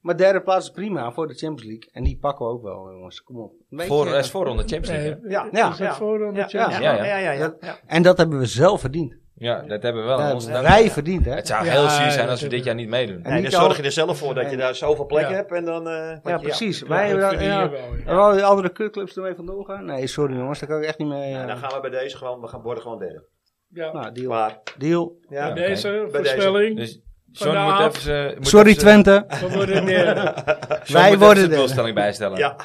D: Maar derde plaats is prima voor de Champions League. En die pakken we ook wel, jongens. Kom op. Een beetje-
A: Voor, dat is voorronde Champions League. hè?
B: Eh,
C: Ja,
D: ja,
B: is dat
C: ja.
B: voorronde
C: Ja, ja,
B: Champions
A: Ja,
C: ja,
A: ja.
C: ja, ja, ja.
D: En dat hebben we zelf verdiend.
A: Ja, dat hebben we wel. aan
D: Dat
A: Oh, onze
D: hebben
A: dank.
D: wij verdiend, hè?
A: Het zou
B: Ja,
A: heel zuur zijn
B: dat
A: als we dit
B: hebben-
A: jaar niet meedoen.
D: En
C: Nee,
D: niet
C: dan
D: al-
C: zorg je er zelf voor dat je daar zoveel plek
B: Ja.
C: hebt en dan... eh,
D: Ja,
C: want je-
D: precies.
B: Ja,
D: wij
B: dat
D: hebben
B: verdien je
D: ja, Oh.
B: wel, ja.
D: en al die
G: Nou,
D: andere kutclubs ermee vandoor gaan. Nee, sorry jongens, daar kan ik echt niet mee. eh,
C: Ja, dan gaan we bij deze gewoon, we gaan worden gewoon derde.
B: Ja.
D: Nou, deal.
C: Klaar.
D: Deal.
E: Ja.
A: Ja.
B: Bij deze
C: Bij deze.
B: voorspelling.
A: Dus John moet
B: Vandaag.
A: even zijn- moet
D: Sorry
A: even zijn-
D: Twente.
B: We worden derde.
A: John
D: Wij
A: moet even
D: worden
A: zijn
D: derde.
A: doelstelling bijstellen.
C: Ja.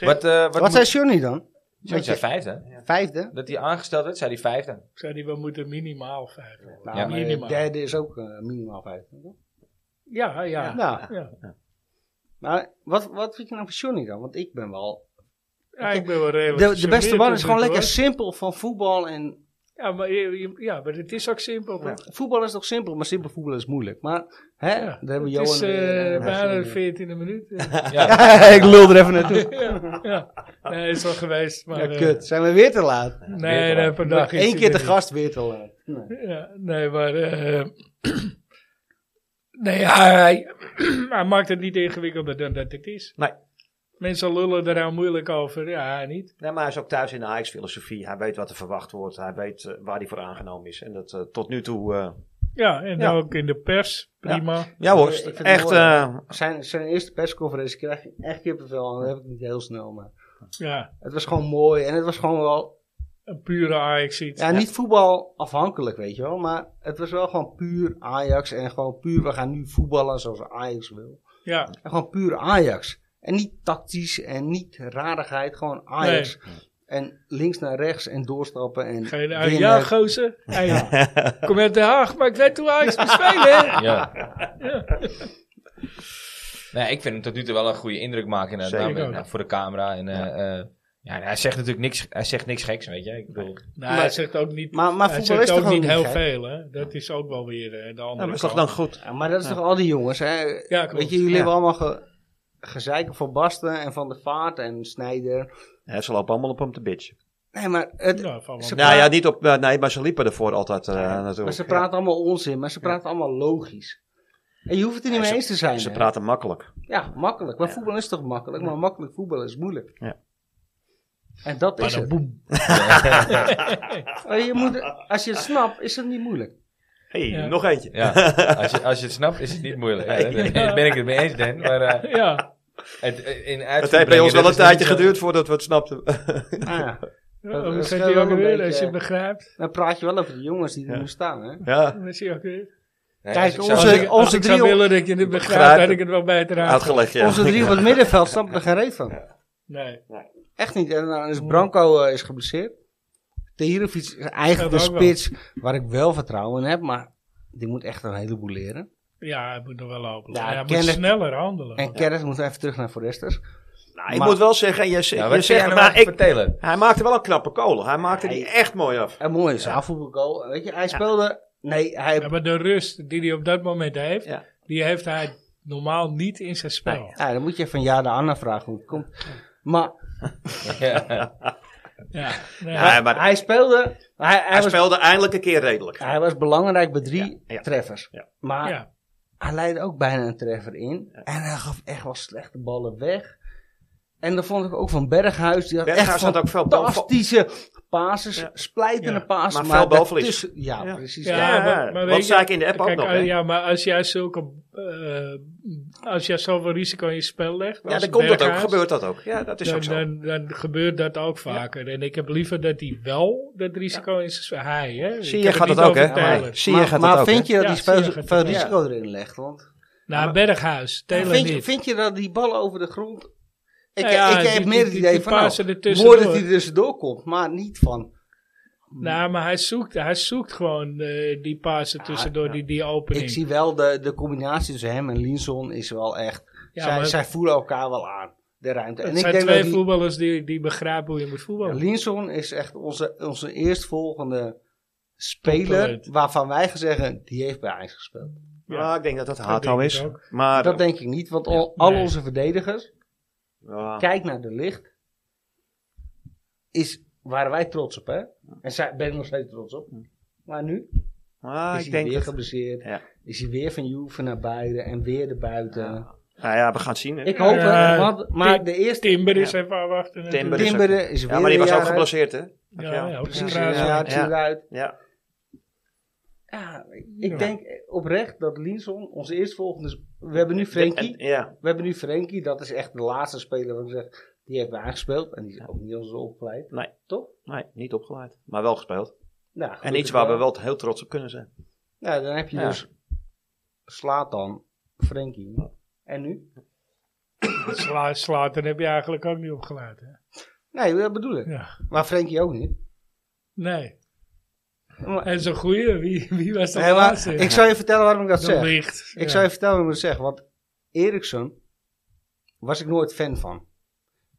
A: Wat, eh, wat,
D: Wat zei Johnny dan?
A: John zei vijfde.
D: Vijfde?
A: Dat hij aangesteld werd, zei hij vijfde.
B: Ik zei die, we moeten minimaal vijf worden.
D: Nou,
A: Ja.
D: maar
B: Minimaal.
D: derde is ook eh, minimaal vijfde. toch?
B: Ja, ja. ja.
D: Nou, maar wat, wat vind je nou van Johnny dan? Want ik ben wel...
B: Ja, ik ben wel redelijk
D: De, de beste
B: gecharmeerd
D: man is gewoon
B: tot nu
D: lekker
B: toe,
D: simpel van voetbal en
B: hoor. Ja maar, je- je- ja, maar het is ook simpel. want
D: Voetbal is toch simpel, maar simpel voetbal is moeilijk. Maar hè,
B: Ja,
D: daar hebben
B: Het
D: Johan
B: is
D: weer,
B: eh
D: eh,
B: bijna de
D: weer.
B: 14e minuut.
A: Ja.
D: Ja, ik lul er even naartoe.
B: ja, ja. Nee, is wel geweest. Maar,
D: Ja,
B: eh,
D: kut. Zijn we weer te laat?
A: Weer
B: Nee,
A: te
B: nee,
A: laat.
B: vandaag is
D: Eén
B: hij
D: keer te
B: er
D: gast weer te laat. Nee.
B: niet. Ja, nee, maar... eh, nee, hij, hij, hij maakt het niet ingewikkelder dan dat het is.
C: Nee.
B: Mensen lullen er nou moeilijk over. Ja, hij niet.
C: Nee, maar hij is ook thuis in de Ajax-filosofie. Hij weet wat er verwacht wordt. Hij weet eh, waar hij voor aangenomen is. En dat eh, tot nu toe... eh,
B: Ja, en
C: Ja.
B: ook in de pers. Prima.
C: ja hoor,
D: Ik vind het
C: echt...
D: mooi.
C: eh,
D: Zijn, zijn eerste persconferentie kreeg ik echt kippenvel. En dat heb ik niet heel snel, maar
B: Ja,
D: het was gewoon mooi. En het was gewoon wel,
B: een pure Ajax iets.
D: ja, niet voetbal afhankelijk, weet je wel. Maar het was wel gewoon puur Ajax. En gewoon puur, we gaan nu voetballen zoals Ajax wil.
B: Ja,
D: En gewoon puur Ajax. En niet tactisch en niet rarigheid, gewoon Ajax. En links naar rechts en doorstappen en
B: geen
D: winnen.
B: Ja, gozer. Ja, ja. Kom uit Den Haag, maar ik weet hoe Ajax moet spelen. hè.
A: Ja. Nee, ik vind hem tot nu toe wel een goede indruk maken inderdaad.
C: Zeker
A: Nou, met-
B: ook.
A: nou, voor de camera. En, eh, eh, ja, en hij zegt natuurlijk niks, hij zegt niks geks, weet je. Ik bedoel,
B: Nou, hij
D: Maar-
B: zegt ook niet,
D: maar- maar
B: hij
D: voetbal
B: zegt
D: is toch
B: ook
D: ook
B: niet
D: niet
B: heel
D: gek?
B: veel, hè? Dat is ook wel weer eh, de andere
C: nou, dat is
B: kant.
C: toch dan goed?
D: Ja, maar dat is toch al die jongens, hè?
B: klopt.
D: Weet je, jullie
C: Ja.
D: hebben allemaal ge gezeiken van Basten en Van der Vaart en Snijder.
C: Ja, ze lopen allemaal op hem te bitchen.
D: Nee, maar, het,
B: Ja, van wel.
D: Ze-
C: Nou
D: praat-
C: ja, niet op... eh, nee, maar ze liepen ervoor altijd eh,
D: maar
C: natuurlijk.
D: ze praten allemaal onzin, maar ze praten allemaal logisch. En je hoeft het er niet
C: Ja,
D: mee eens te
C: Ja,
D: zijn.
C: ze
D: hè?
C: praten makkelijk.
D: Ja, makkelijk. Maar voetbal is toch makkelijk? Maar makkelijk voetbal is moeilijk.
C: Ja.
D: En dat is het.
B: Padaboem.
D: Maar je moet, als je het snapt, is het niet moeilijk.
C: Hé,
B: Ja.
C: nog eentje.
A: ja, als je, als je het snapt is het niet moeilijk. Ja, daar ben-
B: Ja.
A: ben ik het mee eens, Dan. Maar eh,
B: Ja,
A: het, eh, in
C: Het heeft bij ons
A: dus
C: wel een tijdje geduurd voordat we het snapten.
D: Ah, ja.
B: Ja,
D: dat
B: hoe
D: is
B: zegt
D: wel
B: Oh, hij ook
D: een
B: weer?
D: beetje-
B: Als je het begrijpt,
D: Dan praat je wel over de jongens die er nu staan. Hè?
C: ja,
B: dan is hij ook weer.
D: Kijk,
A: dus
B: Als
D: Onze-
B: ik, als
D: onze
B: ik zou
D: drie-
B: willen dat je het begrijpt,
C: Begrijp-
B: had ik het wel bij het raam.
C: uitgelegd, ja.
D: Onze drie op het middenveld snappen er geen reet van.
B: Nee,
D: Echt niet. En dan is Branco eh, is geblesseerd. Tehirovic is eigenlijk
B: Ja,
D: de
B: dat ook
D: spits waar ik wel vertrouwen in heb, maar die moet echt een heleboel leren.
B: ja, hij moet nog wel lopen.
D: Ja,
B: Ja, hij moet
D: Kenneth-
B: sneller handelen.
D: En Kerris moet even terug naar Foresters.
C: Nou, ik
D: Maar-
C: moet wel zeggen, je, z-
A: Ja,
C: je
A: wat zeg
C: zegt,
A: je
C: maar
A: nou
C: ik,
A: vertellen?
C: hij maakte wel een knappe kolen. Hij maakte die echt mooi af.
D: Een mooie zaalvoetbalgoal. Weet je, hij speelde... Nee, hij,
B: Ja, maar de rust die hij op dat moment heeft,
C: Ja.
B: die heeft hij normaal niet in zijn spel.
D: ja, dan moet je even ja de Anna vragen hoe het komt. Maar
B: Ja, nee.
C: Ja,
D: hij,
C: maar-
D: hij speelde... Hij, hij,
C: Hij
D: was,
C: speelde eindelijk een keer redelijk.
D: hij was belangrijk bij drie
C: Ja, ja.
D: treffers.
C: Ja.
D: Maar
B: ja.
D: hij leidde ook bijna een treffer in. En hij gaf echt wel slechte ballen weg. En dan vond ik ook van Berghuis. Die had
C: Berghuis
D: echt
C: had ook veel bal-
D: fantastische pases.
C: Ja.
D: Splijtende
B: Ja.
D: pases.
C: Maar veel balverlies.
D: daartussen- Ja,
C: Ja.
D: precies.
B: Ja,
D: Ja.
C: Ja,
B: maar,
C: wat
B: maar weet je-
C: zei ik in de app ook
B: kijk,
C: nog,
B: ah,
C: hè?
B: Ja, maar als jij zulke... eh, als jij zoveel risico in je spel legt...
C: Ja,
B: als
C: dan komt dat ook,
B: Berghuis,
C: gebeurt dat ook. Ja, dat is
B: dan,
C: ook zo.
B: dan, dan gebeurt dat ook vaker. En ik heb liever dat hij wel dat risico in zijn spel... Hij, hè?
C: Zie
B: Ik
C: je
B: heb het
C: gaat dat
B: niet
C: ook,
B: over
C: hè?
B: Taylor.
C: Ja, Zie je
D: Maar,
C: gaat
D: maar
C: dat ook, hè?
D: vind je dat
B: Ja,
D: die spelers
B: zie je gaat
D: veel
B: het ook.
D: risico erin legt? Want
B: Nou, Berghuis, Taylor
D: vind, je,
B: niet.
D: vind je dat die ballen over de grond... Ik,
B: Nou ja,
D: ik heb
B: die-
D: meer het
B: die-
D: idee
B: die
D: van, nou,
B: passen er
D: mooi dat
B: tussendoor.
D: hij er tussendoor komt. Maar niet van,
B: Nou, maar hij zoekt, hij zoekt gewoon eh, die pasen tussendoor, die, die opening.
D: ik zie wel de, de combinatie tussen hem en Linson is wel echt...
B: Ja,
D: zij,
B: maar-
D: zij voelen elkaar wel aan, de ruimte.
B: het
D: ik
B: zijn
D: denk
B: twee
D: dat die-
B: voetballers die, die begrijpen hoe je moet voetballen.
D: Linson is echt onze, onze eerstvolgende
B: Toptalent.
D: speler waarvan wij zeggen, die heeft bij Ajax gespeeld.
B: Ja.
C: Ja, ik denk dat dat
B: denk
C: Hato
B: ik
C: is.
B: ook.
C: Maar
D: dat
C: eh,
D: denk ik niet, want al, al
B: Nee.
D: onze verdedigers,
C: ja,
D: kijk naar de licht, is, waren wij trots op hè? En zij, ben ik nog steeds trots op. Maar nu
C: maar
D: is
C: ik
D: hij
C: denk
D: weer
C: dat-
D: geblesseerd,
C: Ja.
D: is hij weer van Juve naar buiten en weer erbuiten.
C: Nou ja, we gaan het zien. hè.
D: Ik hoop het,
B: Ja,
D: want- maar de eerste
B: Timber is even aanwachten. natuurlijk.
C: Timber is
D: Timber
C: ook-
D: is weer eh,
C: Ja, maar die
D: een
C: was ook
D: jaar uit.
C: geblesseerd, hè?
B: Ja,
C: Ja,
B: ja, ook
D: Precies,
B: een
D: een
B: raar-
D: jaartje
C: Ja.
D: eruit.
C: Ja.
D: Ja, ik
B: Ja.
D: denk oprecht dat Linson onze eerstvolgende... We hebben nu Frenkie.
C: En- Ja.
D: We hebben nu Frenkie. Dat is echt de laatste speler waar ik zeg... Die heeft bij aangespeeld. En die is ook niet als opgeleid.
C: Nee.
D: Toch?
C: Nee, niet opgeleid. Maar wel gespeeld.
D: Nou,
C: En
D: gelukkig
C: iets waar we
D: wel.
C: wel heel trots op kunnen zijn.
D: Nou, dan heb je
C: Ja.
D: dus Slatan, Frenkie. En nu?
B: Sla, Slater heb je eigenlijk ook niet opgelaten. hè?
D: Nee, dat bedoel ik.
B: Ja.
D: Maar Frenkie ook niet.
B: Nee.
D: Maar-
B: En zo'n goeie, wie, wie was dat
D: Nee, maar
B: laatste?
D: ik zou je vertellen waarom ik dat
B: De
D: zeg.
B: licht.
D: Ik
B: ja.
D: zou je vertellen waarom ik dat zeg. Want Eriksson was ik nooit fan van.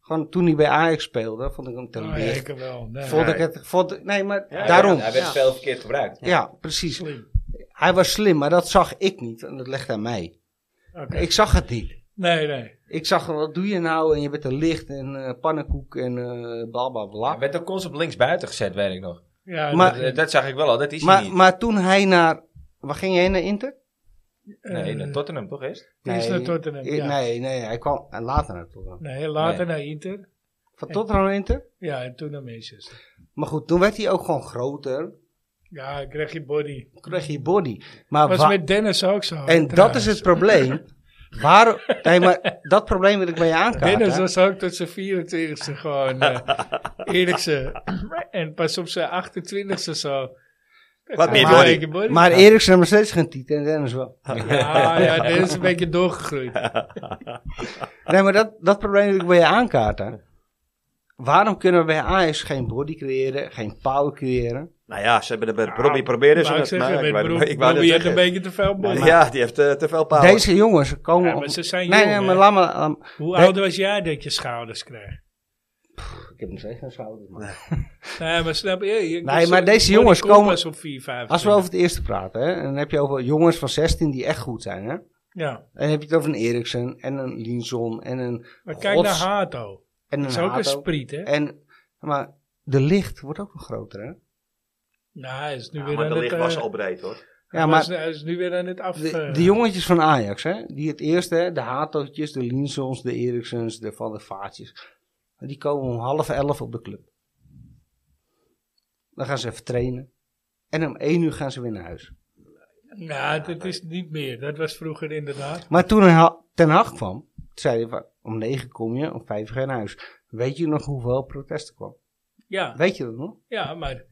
D: Gewoon toen hij bij Ajax speelde, vond ik hem te
B: Oh, ja,
D: licht.
B: ik wel. Nee.
D: Vond ik het, vond, nee, maar daarom.
A: Hij werd dus
C: Ja.
A: veel verkeerd gebruikt.
D: Ja, precies.
B: Slim.
D: Hij was slim, maar dat zag ik niet. En dat legde aan mij.
B: Oké.
D: Ik zag het niet.
B: Nee, nee.
D: Ik zag, wat doe je nou? En je bent te licht en eh, pannenkoek en eh bla bla bla.
A: Hij werd ook constant links buiten gezet, weet ik nog.
B: Ja,
D: Maar-
B: dat-
A: Dat, dat zag ik wel al, dat is hij
D: Maar,
A: niet.
D: maar toen hij naar. Waar ging hij heen naar Inter?
A: nee,
B: eh,
A: naar Tottenham toch eerst?
B: die is naar Tottenham.
D: eh,
B: ja. nee.
D: Nee, nee, hij kwam en later naar Tottenham.
B: later
A: Nee.
B: naar Inter.
D: Van Tottenham naar Inter?
B: Ja, en toen naar Manchester.
D: Maar goed, toen werd hij ook gewoon groter.
B: Ja, ik kreeg je body.
D: Toen kreeg hij body. Maar
B: Dat
D: Ah, wa-
B: was met Dennis ook zo.
D: en dat is
B: trouwens.
D: het probleem. Waarom? Nee, maar dat probleem wil ik bij je aankaarten.
B: Dennis was ook tot zijn 24ste gewoon eh Eriksen. En pas op zijn 28ste zo.
C: Wat meer
B: Ja,
D: maar-
C: door die-
B: een body.
D: Maar Eriksen heeft nog steeds geen titel en Dennis wel.
B: Ja, ja, Dennis is een beetje doorgegroeid.
D: Nee, maar dat, dat probleem wil ik bij je aankaarten. Waarom kunnen we bij Ajax geen body creëren, geen power creëren?
C: Nou ja, ze hebben er met Robbie proberen ze
B: Maar ik
C: het.
B: zeg,
C: maar
B: met
C: ik wou-
B: Broek,
C: ik wou net
B: Bobby heeft een
C: zeggen.
B: beetje te veel body.
C: Ja, die heeft eh, te veel power.
D: Deze jongens komen...
B: Ja, maar
D: op-
B: ze zijn
D: nee,
B: jong,
D: nee,
B: hè?
D: maar laat maar... laat maar-
B: Hoe
D: Nee.
B: oud was jij dat je schouders kreeg?
D: Ik heb nog steeds geen schouders. man.
B: Nee, maar snap je? je- je-
D: maar
B: zo'n
D: deze
B: body
D: jongens
B: komt
D: komen-
B: pas op 4, 5.
D: Als we over het eerste praten, hè, en dan heb je over jongens van 16 die echt goed zijn. Hè? En
B: Ja,
D: dan heb je het over een Eriksen en een Linson en een
B: maar kijk
D: Gods-
B: naar Hato.
D: en
B: Dat
D: een
B: is ook een
D: Hato.
B: spriet, hè?
D: En Maar de licht wordt ook nog groter, hè?
B: Nou, hij is nu
C: Ja,
B: weer
C: maar
B: aan
C: de
B: het...
C: licht
B: eh,
C: was al breed hoor.
D: Ja,
B: hij is-
D: maar
B: hij is nu weer aan het af...
D: de,
B: eh,
D: de jongetjes van Ajax, hè? Die het eerste, hè, de Hatootjes, de Linsons, de Eriksens, de Van der Vaartjes. Die komen om half elf op de club. Dan gaan ze even trainen. En om één uur gaan ze weer naar huis.
B: Nou, dat is niet meer. Dat was vroeger inderdaad.
D: Maar toen Ha- Ten Hag kwam, zei hij van, om negen kom je, om vijf ga je naar huis. Weet je nog hoeveel protesten kwam?
B: Ja,
D: Weet je dat nog?
B: ja, maar...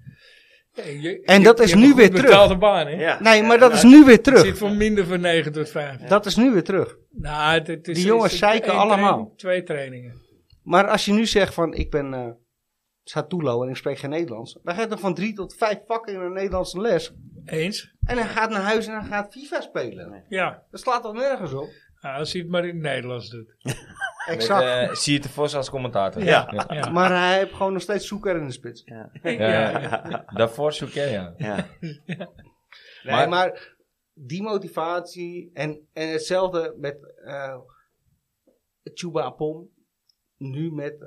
B: eh, je-
D: En
B: je-
D: dat is
B: je hebt
D: nu
B: een
D: weer
B: goed
D: terug.
B: betaalde baan, hè?
C: Ja.
D: Nee, maar dat
C: Ja,
D: is nu weer
B: Het zit
D: terug.
B: voor minder van 9 tot 5.
D: Dat is nu weer terug.
B: Nou, het, het is,
D: Die jongens
B: het is
D: zeiken
B: één
D: allemaal.
B: training, twee trainingen.
D: Maar als je nu zegt van, ik ben eh Satulo en ik spreek geen Nederlands. Dan gaat er van drie tot vijf vakken in een Nederlandse les.
B: Eens?
D: En hij gaat naar huis en hij gaat FIFA spelen.
B: Ja.
D: Dat slaat toch nergens op?
B: Nou, als hij het maar in het Nederlands doet.
D: Exact.
A: Met, eh, Siert de Vos als commentator.
C: Ja.
B: Ja.
D: maar hij heeft gewoon nog steeds zoeker in de spits.
A: Ja, ja. Daarvoor zoek jij, ja.
C: Ja.
D: Nee, maar,
A: Maar-
D: die motivatie en, en hetzelfde met eh Chuba Apom. Nu met,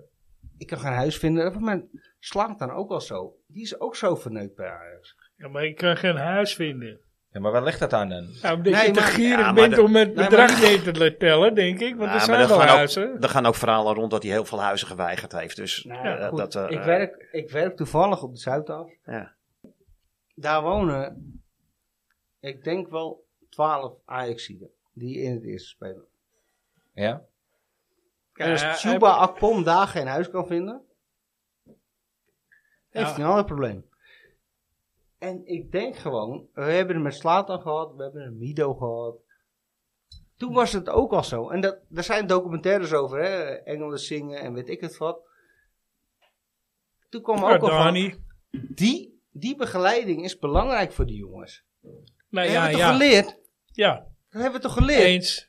D: ik kan geen huis vinden. Maar slaat dan ook al zo. Die is ook zo verneukt bij Ajax.
B: Ja, maar ik kan geen huis vinden.
A: Ja, maar waar ligt dat aan dan?
B: Nou, omdat
D: Nee,
B: je te
D: maar-
B: gierig
C: Ja, maar
B: bent
C: de-
B: om het
D: Nee,
B: bedrag
D: maar-
B: mee te tellen, denk ik. Want
C: Nou,
B: er
C: maar
B: zijn wel
C: gaan
B: huizen.
C: ook, er gaan ook verhalen rond dat hij heel veel huizen geweigerd heeft. Dus
D: Nou,
C: eh,
D: goed,
C: dat, eh,
D: ik, werk, ik werk toevallig op de Zuidas.
C: Ja.
D: Daar wonen, ik denk wel 12 Ajaxiden die in het eerste spelen.
A: Ja?
D: En
B: Ja,
D: als Chuba Dus Akpom daar geen huis kan vinden, heeft
B: Ja.
D: hij een ander probleem. En ik denk gewoon, we hebben het met Slatan gehad, we hebben het met Mido gehad. Toen was het ook al zo. En dat, daar zijn documentaires over, hè? Engelen zingen en weet ik het wat. Toen kwam ook al van,
B: Cardani.
D: die, die begeleiding is belangrijk voor die jongens.
B: Nou
D: dat
B: ja,
D: hebben we
B: ja.
D: toch geleerd?
B: Ja,
D: Dat hebben we toch geleerd?
B: eens.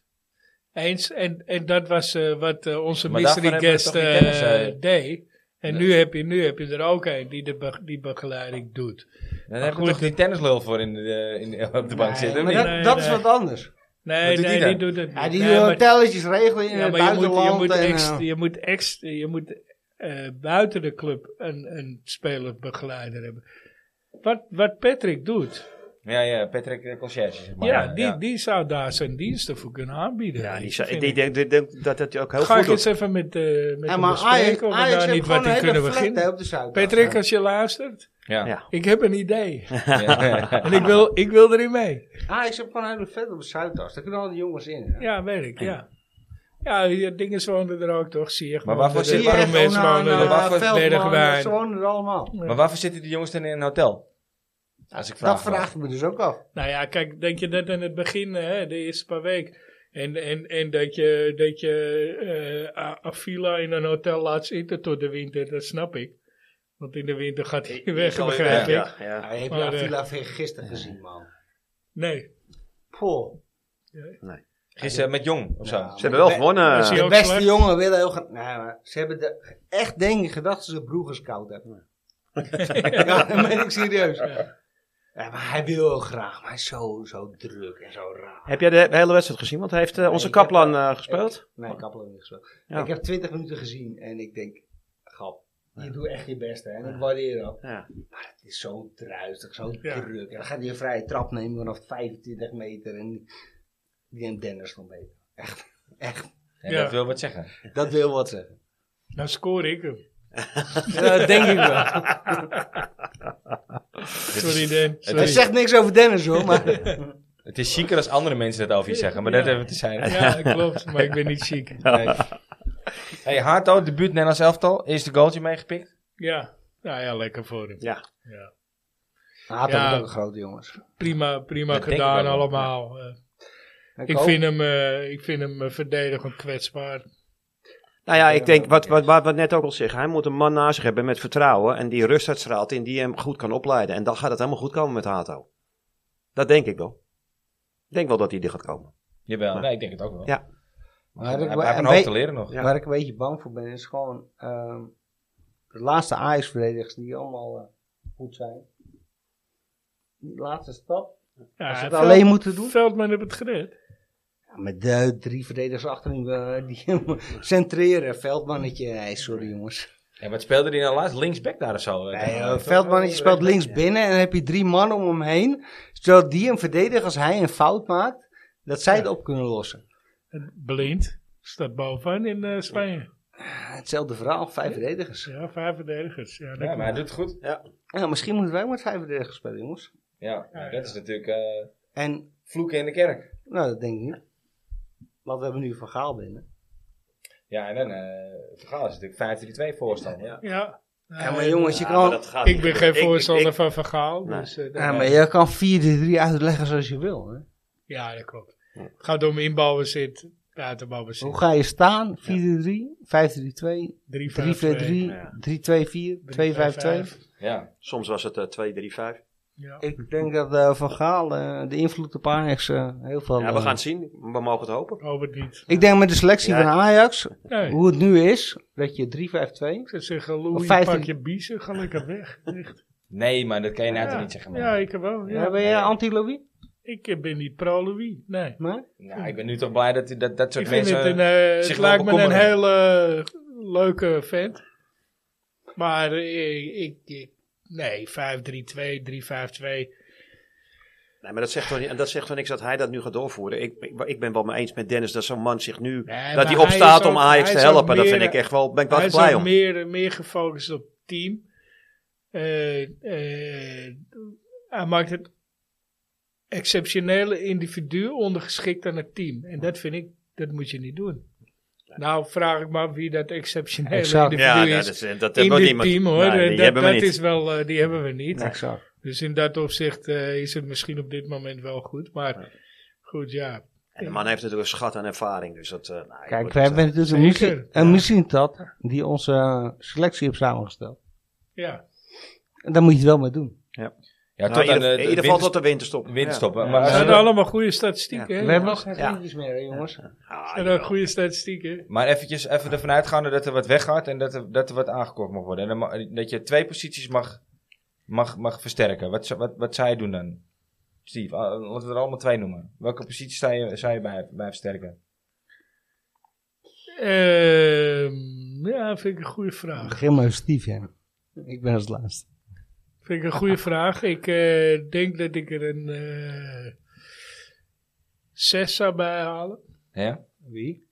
B: Eens. En, en dat was eh, wat eh, onze
A: Maar
B: mystery
A: daarvan hebben we
B: guest
A: toch die kennis,
B: eh,
A: eh?
B: deed. En nu, heb je, nu heb je er ook een die de be- die begeleiding doet.
A: Dan heb je
B: goed,
A: toch die tennislul voor in de, in, op de bank zitten?
D: maar
A: of
D: dat,
A: niet?
B: Nee,
D: dat
B: nee.
D: is wat anders.
B: Nee,
A: Wat doet
B: nee,
A: die
B: die
A: dan?
B: doet het niet.
D: Ja, die
B: Nee, maar-
D: hotelletjes regelen in
B: Ja,
D: het
B: maar je moet,
D: buitenland.
B: je moet,
D: en,
B: ex,
D: eh,
B: je moet, ex, je moet eh, buiten de club een, een spelerbegeleider hebben. Wat, wat Patrick doet,
A: Ja, ja, Patrick de Concierge. Zeg maar.
B: ja, die,
A: ja.
B: die zou daar zijn diensten voor kunnen aanbieden.
C: Ja, die
B: Ik
C: zou- ik
B: vind
C: denk-
B: het-
C: denk- denk dat dat hij ook heel
B: Ga
C: goed
B: ik
C: doet.
B: eens even met, eh met
D: ja,
B: hem
D: maar Ajax,
B: bespreken of we
D: Ajax
B: daar
D: heeft
B: niet
D: gewoon
B: wat
D: een
B: in
D: hele
B: kunnen
D: vlek
B: beginnen.
D: hè, op de eh. Zuidas.
B: Patrick,
D: Ja.
B: als je luistert,
A: Ja.
C: Ja.
B: ik heb een idee.
A: Ja.
B: en ik wil, ik wil erin mee.
D: Ajax heeft gewoon een hele vlek op de Zuidas. Daar kunnen al die jongens in. hè.
B: Ja, weet ik, ja. Ja, die dingen woonden er ook toch, zie je.
A: Maar waarvoor
D: Zie
A: zit-
D: je echt
B: mensen eh,
D: Onana,
B: woonden er?
A: waarvoor-
D: nou, Veldman, eh,
B: Bergwijn.
D: Ze wonen er allemaal.
A: Maar waarvoor zitten die jongens dan in een hotel? Als ik
D: Dat
A: vraag
D: vraag ik me dus ook af.
B: Nou ja, kijk, denk je dat in het begin, hè, de eerste paar weken. En, en, en dat je, dat je eh, A- Avila in een hotel laat zitten tot de winter, dat snap ik. Want in de winter gaat hij
C: Die
B: weg,
C: is alweer
B: begrijp ik.
C: weg, ja, ja.
D: Hij heeft
B: Maar, eh,
D: Avila gisteren gezien, man.
B: Nee,
D: Poh.
A: Gisteren met Jong of zo.
D: Nou,
C: Ze hebben wel
D: de-
C: gewonnen.
B: Is hij
D: De
B: ook
D: beste
B: slecht?
D: jongen willen heel graag. Nee, maar ze hebben de, echt denk ik gedacht dat ze broer scout hebben. ja, dat ben ik serieus. Ja. maar hij wil heel graag, maar hij is zo, zo druk en zo raar.
G: Heb jij de hele wedstrijd gezien? Want hij heeft eh,
D: Nee,
G: onze
D: ik heb-
G: Kaplan eh, gespeeld.
B: Oh.
D: Nee, ik heb hem niet gespeeld.
G: Ja.
D: Ik heb 20 minuten gezien en ik denk, grap, je doet echt je best hè, en ik waardeer dat.
G: Ja.
D: Maar het is zo druistig, zo
B: Ja.
D: druk. En dan gaat hij een vrije trap nemen vanaf 25 meter en die- die neemt Dennis nog mee. Echt, echt.
A: En
B: Ja.
A: dat wil wat zeggen.
D: Dat wil wat zeggen.
B: dan scoor ik hem.
D: Dat denk ik wel.
B: Sorry Dan,
D: Het
B: sorry.
D: zegt niks over Dennis hoor, maar
A: Het is chiquer als andere mensen het over je zeggen, maar dat
B: Ja.
A: hebben we te zijn.
B: Ja, klopt, maar ik ben niet ziek.
A: Nee. Hey, Hato, debuut Nederlands elftal. Eerste goaltje meegepikt.
B: Ja, nou ja, lekker voor hem.
G: Ja.
B: Ja.
D: Haat
B: Ja.
D: ja. ook een grote jongens.
B: Prima, prima
A: Dat denk ik
B: gedaan
A: wel.
B: allemaal. Eh,
D: En
B: ik,
D: Koop?
B: vind hem, eh, ik vind hem eh, verdedigend kwetsbaar.
G: Nou ja, ik denk wat, wat, wat we net ook al zeggen. Hij moet een man naast zich hebben met vertrouwen. En die rust uitstraalt en die hem goed kan opleiden. En dan gaat het helemaal goed komen met Hato. Dat denk ik wel. Ik denk wel dat hij er gaat komen.
A: Jawel, nee, ik denk het ook wel.
G: Ja.
A: Hij,
D: Maar
A: hij
D: ik-
A: heeft een
D: en
A: hoop
D: weet-
A: te leren nog.
G: Ja.
D: Waar ik een beetje bang voor ben is gewoon ehm, de laatste Ajax-verdedigers die allemaal eh, goed zijn. Die laatste stap.
B: Ja,
D: Als ze het
B: Veld-
D: alleen moeten doen.
B: Veldman heeft het gered.
D: Ja, met de drie verdedigers achterin eh, die hem centreren. Veldmannetje, nee sorry jongens.
A: Ja, wat speelde hij nou laatst? Linksback daar of zo?
D: Nee, eh, veldmannetje speelt links binnen en dan heb je drie man om hem heen. Zodat die hem verdedigen als hij een fout maakt. Dat zij het op kunnen lossen.
B: Blind staat bovenaan in eh, Spanje.
D: Hetzelfde verhaal, vijf verdedigers.
B: Ja, vijf verdedigers. Ja, dat
A: ja, maar hij
B: klopt.
A: doet het goed.
D: Ja, misschien moeten wij ook met vijf verdedigers spelen, jongens.
A: Ja, nou, dat is natuurlijk eh,
D: En,
A: vloeken in de kerk.
D: nou, dat denk ik niet. Want we hebben nu Van Gaal binnen.
A: Ja, en dan eh Vergaal is natuurlijk 5-3-2 voorstander.
C: Ja.
B: ja.
D: Ja, maar jongens, je
C: Ja,
D: kan...
C: maar dat gaat
B: ik
C: niet
B: ben geen
C: gebeuren. Ik-
B: voorstander
C: ik-
B: van Vergaal.
G: Nee.
B: Dus, eh, dat-
D: Ja, maar je kan 4-3 uitleggen zoals je wil. Hè?
B: ja, dat klopt. Het gaat om inbouwbezit, buitenbouwbezit.
D: Hoe ga je staan? 4-3, 5-3-2, 3-4-3, 3-2-4,
B: 3
G: ja.
D: 2-5-2.
A: Ja.
G: Soms was het eh, 2-3-5.
B: Ja.
D: Ik denk dat eh, Van Gaal eh, de invloed op Ajax eh, heel veel...
G: Ja, we
D: eh,
G: gaan het zien. We mogen het hopen.
B: Robert niet.
D: ik denk met de selectie
G: Ja.
D: van Ajax,
B: Nee.
D: hoe het nu is, dat je 3-5-2...
B: Ik zou zeggen, Louis,
D: Of 15.
B: pak je biezen, ga lekker weg. Echt.
A: Nee, maar dat kan je nou toch
B: ja.
A: niet zeggen. man.
B: ja, ik wel. Ja.
D: Ja, Eh, ben jij anti-Louis?
B: Ik eh, ben niet pro-Louis. Nee.
D: Nee?
A: Nou, ik ben nu toch blij dat dat, dat, soort
B: Ik vind
A: mensen...
B: het, een, eh, het
A: zich
B: lijkt
A: wel
B: me een
A: bekommeren.
B: hele eh, leuke vent. Maar eh, ik, ik, nee, 5-3-2, 3-5-2.
G: Nee, maar dat zegt, toch, niet- en dat zegt toch niks dat hij dat nu gaat doorvoeren. Ik, ik, ik ben wel mee eens met Dennis dat zo'n man zich nu...
B: Nee,
G: dat
B: maar
G: hij
B: hij
G: opstaat
B: is
G: om
B: ook-
G: Ajax
B: hij is
G: te
B: ook
G: helpen. Dat
B: meer-
G: vind ik echt wel... ben ik wel
B: Hij
G: echt
B: is
G: blij
B: ook
G: om.
B: meer, meer gefocust op team. Eh, eh, hij maakt het exceptionele individu ondergeschikt aan het team. En dat vind ik, dat moet je niet doen. Nou vraag ik maar wie dat exceptionele
D: Exact.
G: Ja,
B: individu
G: dat,
B: is.
G: is, dat, dat
B: in
G: wordt
B: dit
G: niemand-
B: team hoor,
G: Nee,
B: Eh,
G: die
B: dat,
G: hebben we
B: dat
G: niet.
B: is wel, eh, die hebben we niet.
D: Exact.
B: Dus in dat opzicht eh, is het misschien op dit moment wel goed. Maar goed, ja.
G: En de man heeft natuurlijk een schat aan ervaring. Dus dat, eh, nou, ik
D: Kijk,
G: word
D: we
G: het,
D: hebben natuurlijk een,
B: Zeker.
D: muzie- een muziektad die onze eh, selectie heeft samengesteld.
B: ja.
D: En daar moet je het wel mee doen.
A: Ja,
G: eh,
A: tot
G: nou, in
A: aan
G: ieder-
A: de,
G: in ieder geval tot de winterstop.
A: winterstoppen.
G: Ja.
A: Maar
B: Dat
A: als
B: zijn
A: we-
B: allemaal goede statistieken. hè?
D: We hebben nog
B: Dat
D: geen
G: Ja.
D: vriendjes meer, hè, jongens.
G: Ah,
B: zijn
G: ja.
B: ook goede statistieken.
A: Maar eventjes even ervan uitgaande dat er wat weggaat en dat er, dat er wat aangekocht mag worden. En dan ma- dat je twee posities mag, mag, mag versterken. Wat, zou- wat, wat zou je doen dan? Steve, ah, laten we er allemaal twee noemen. Welke positie zou je, zou je bij, bij versterken?
B: Ehm, ja, vind ik een goede vraag.
D: Begin maar stief, ja. Ik ben als laatste.
B: Vind ik een goede vraag. Ik eh, denk dat ik er een eh zes zou bijhalen.
A: Ja?
D: Wie?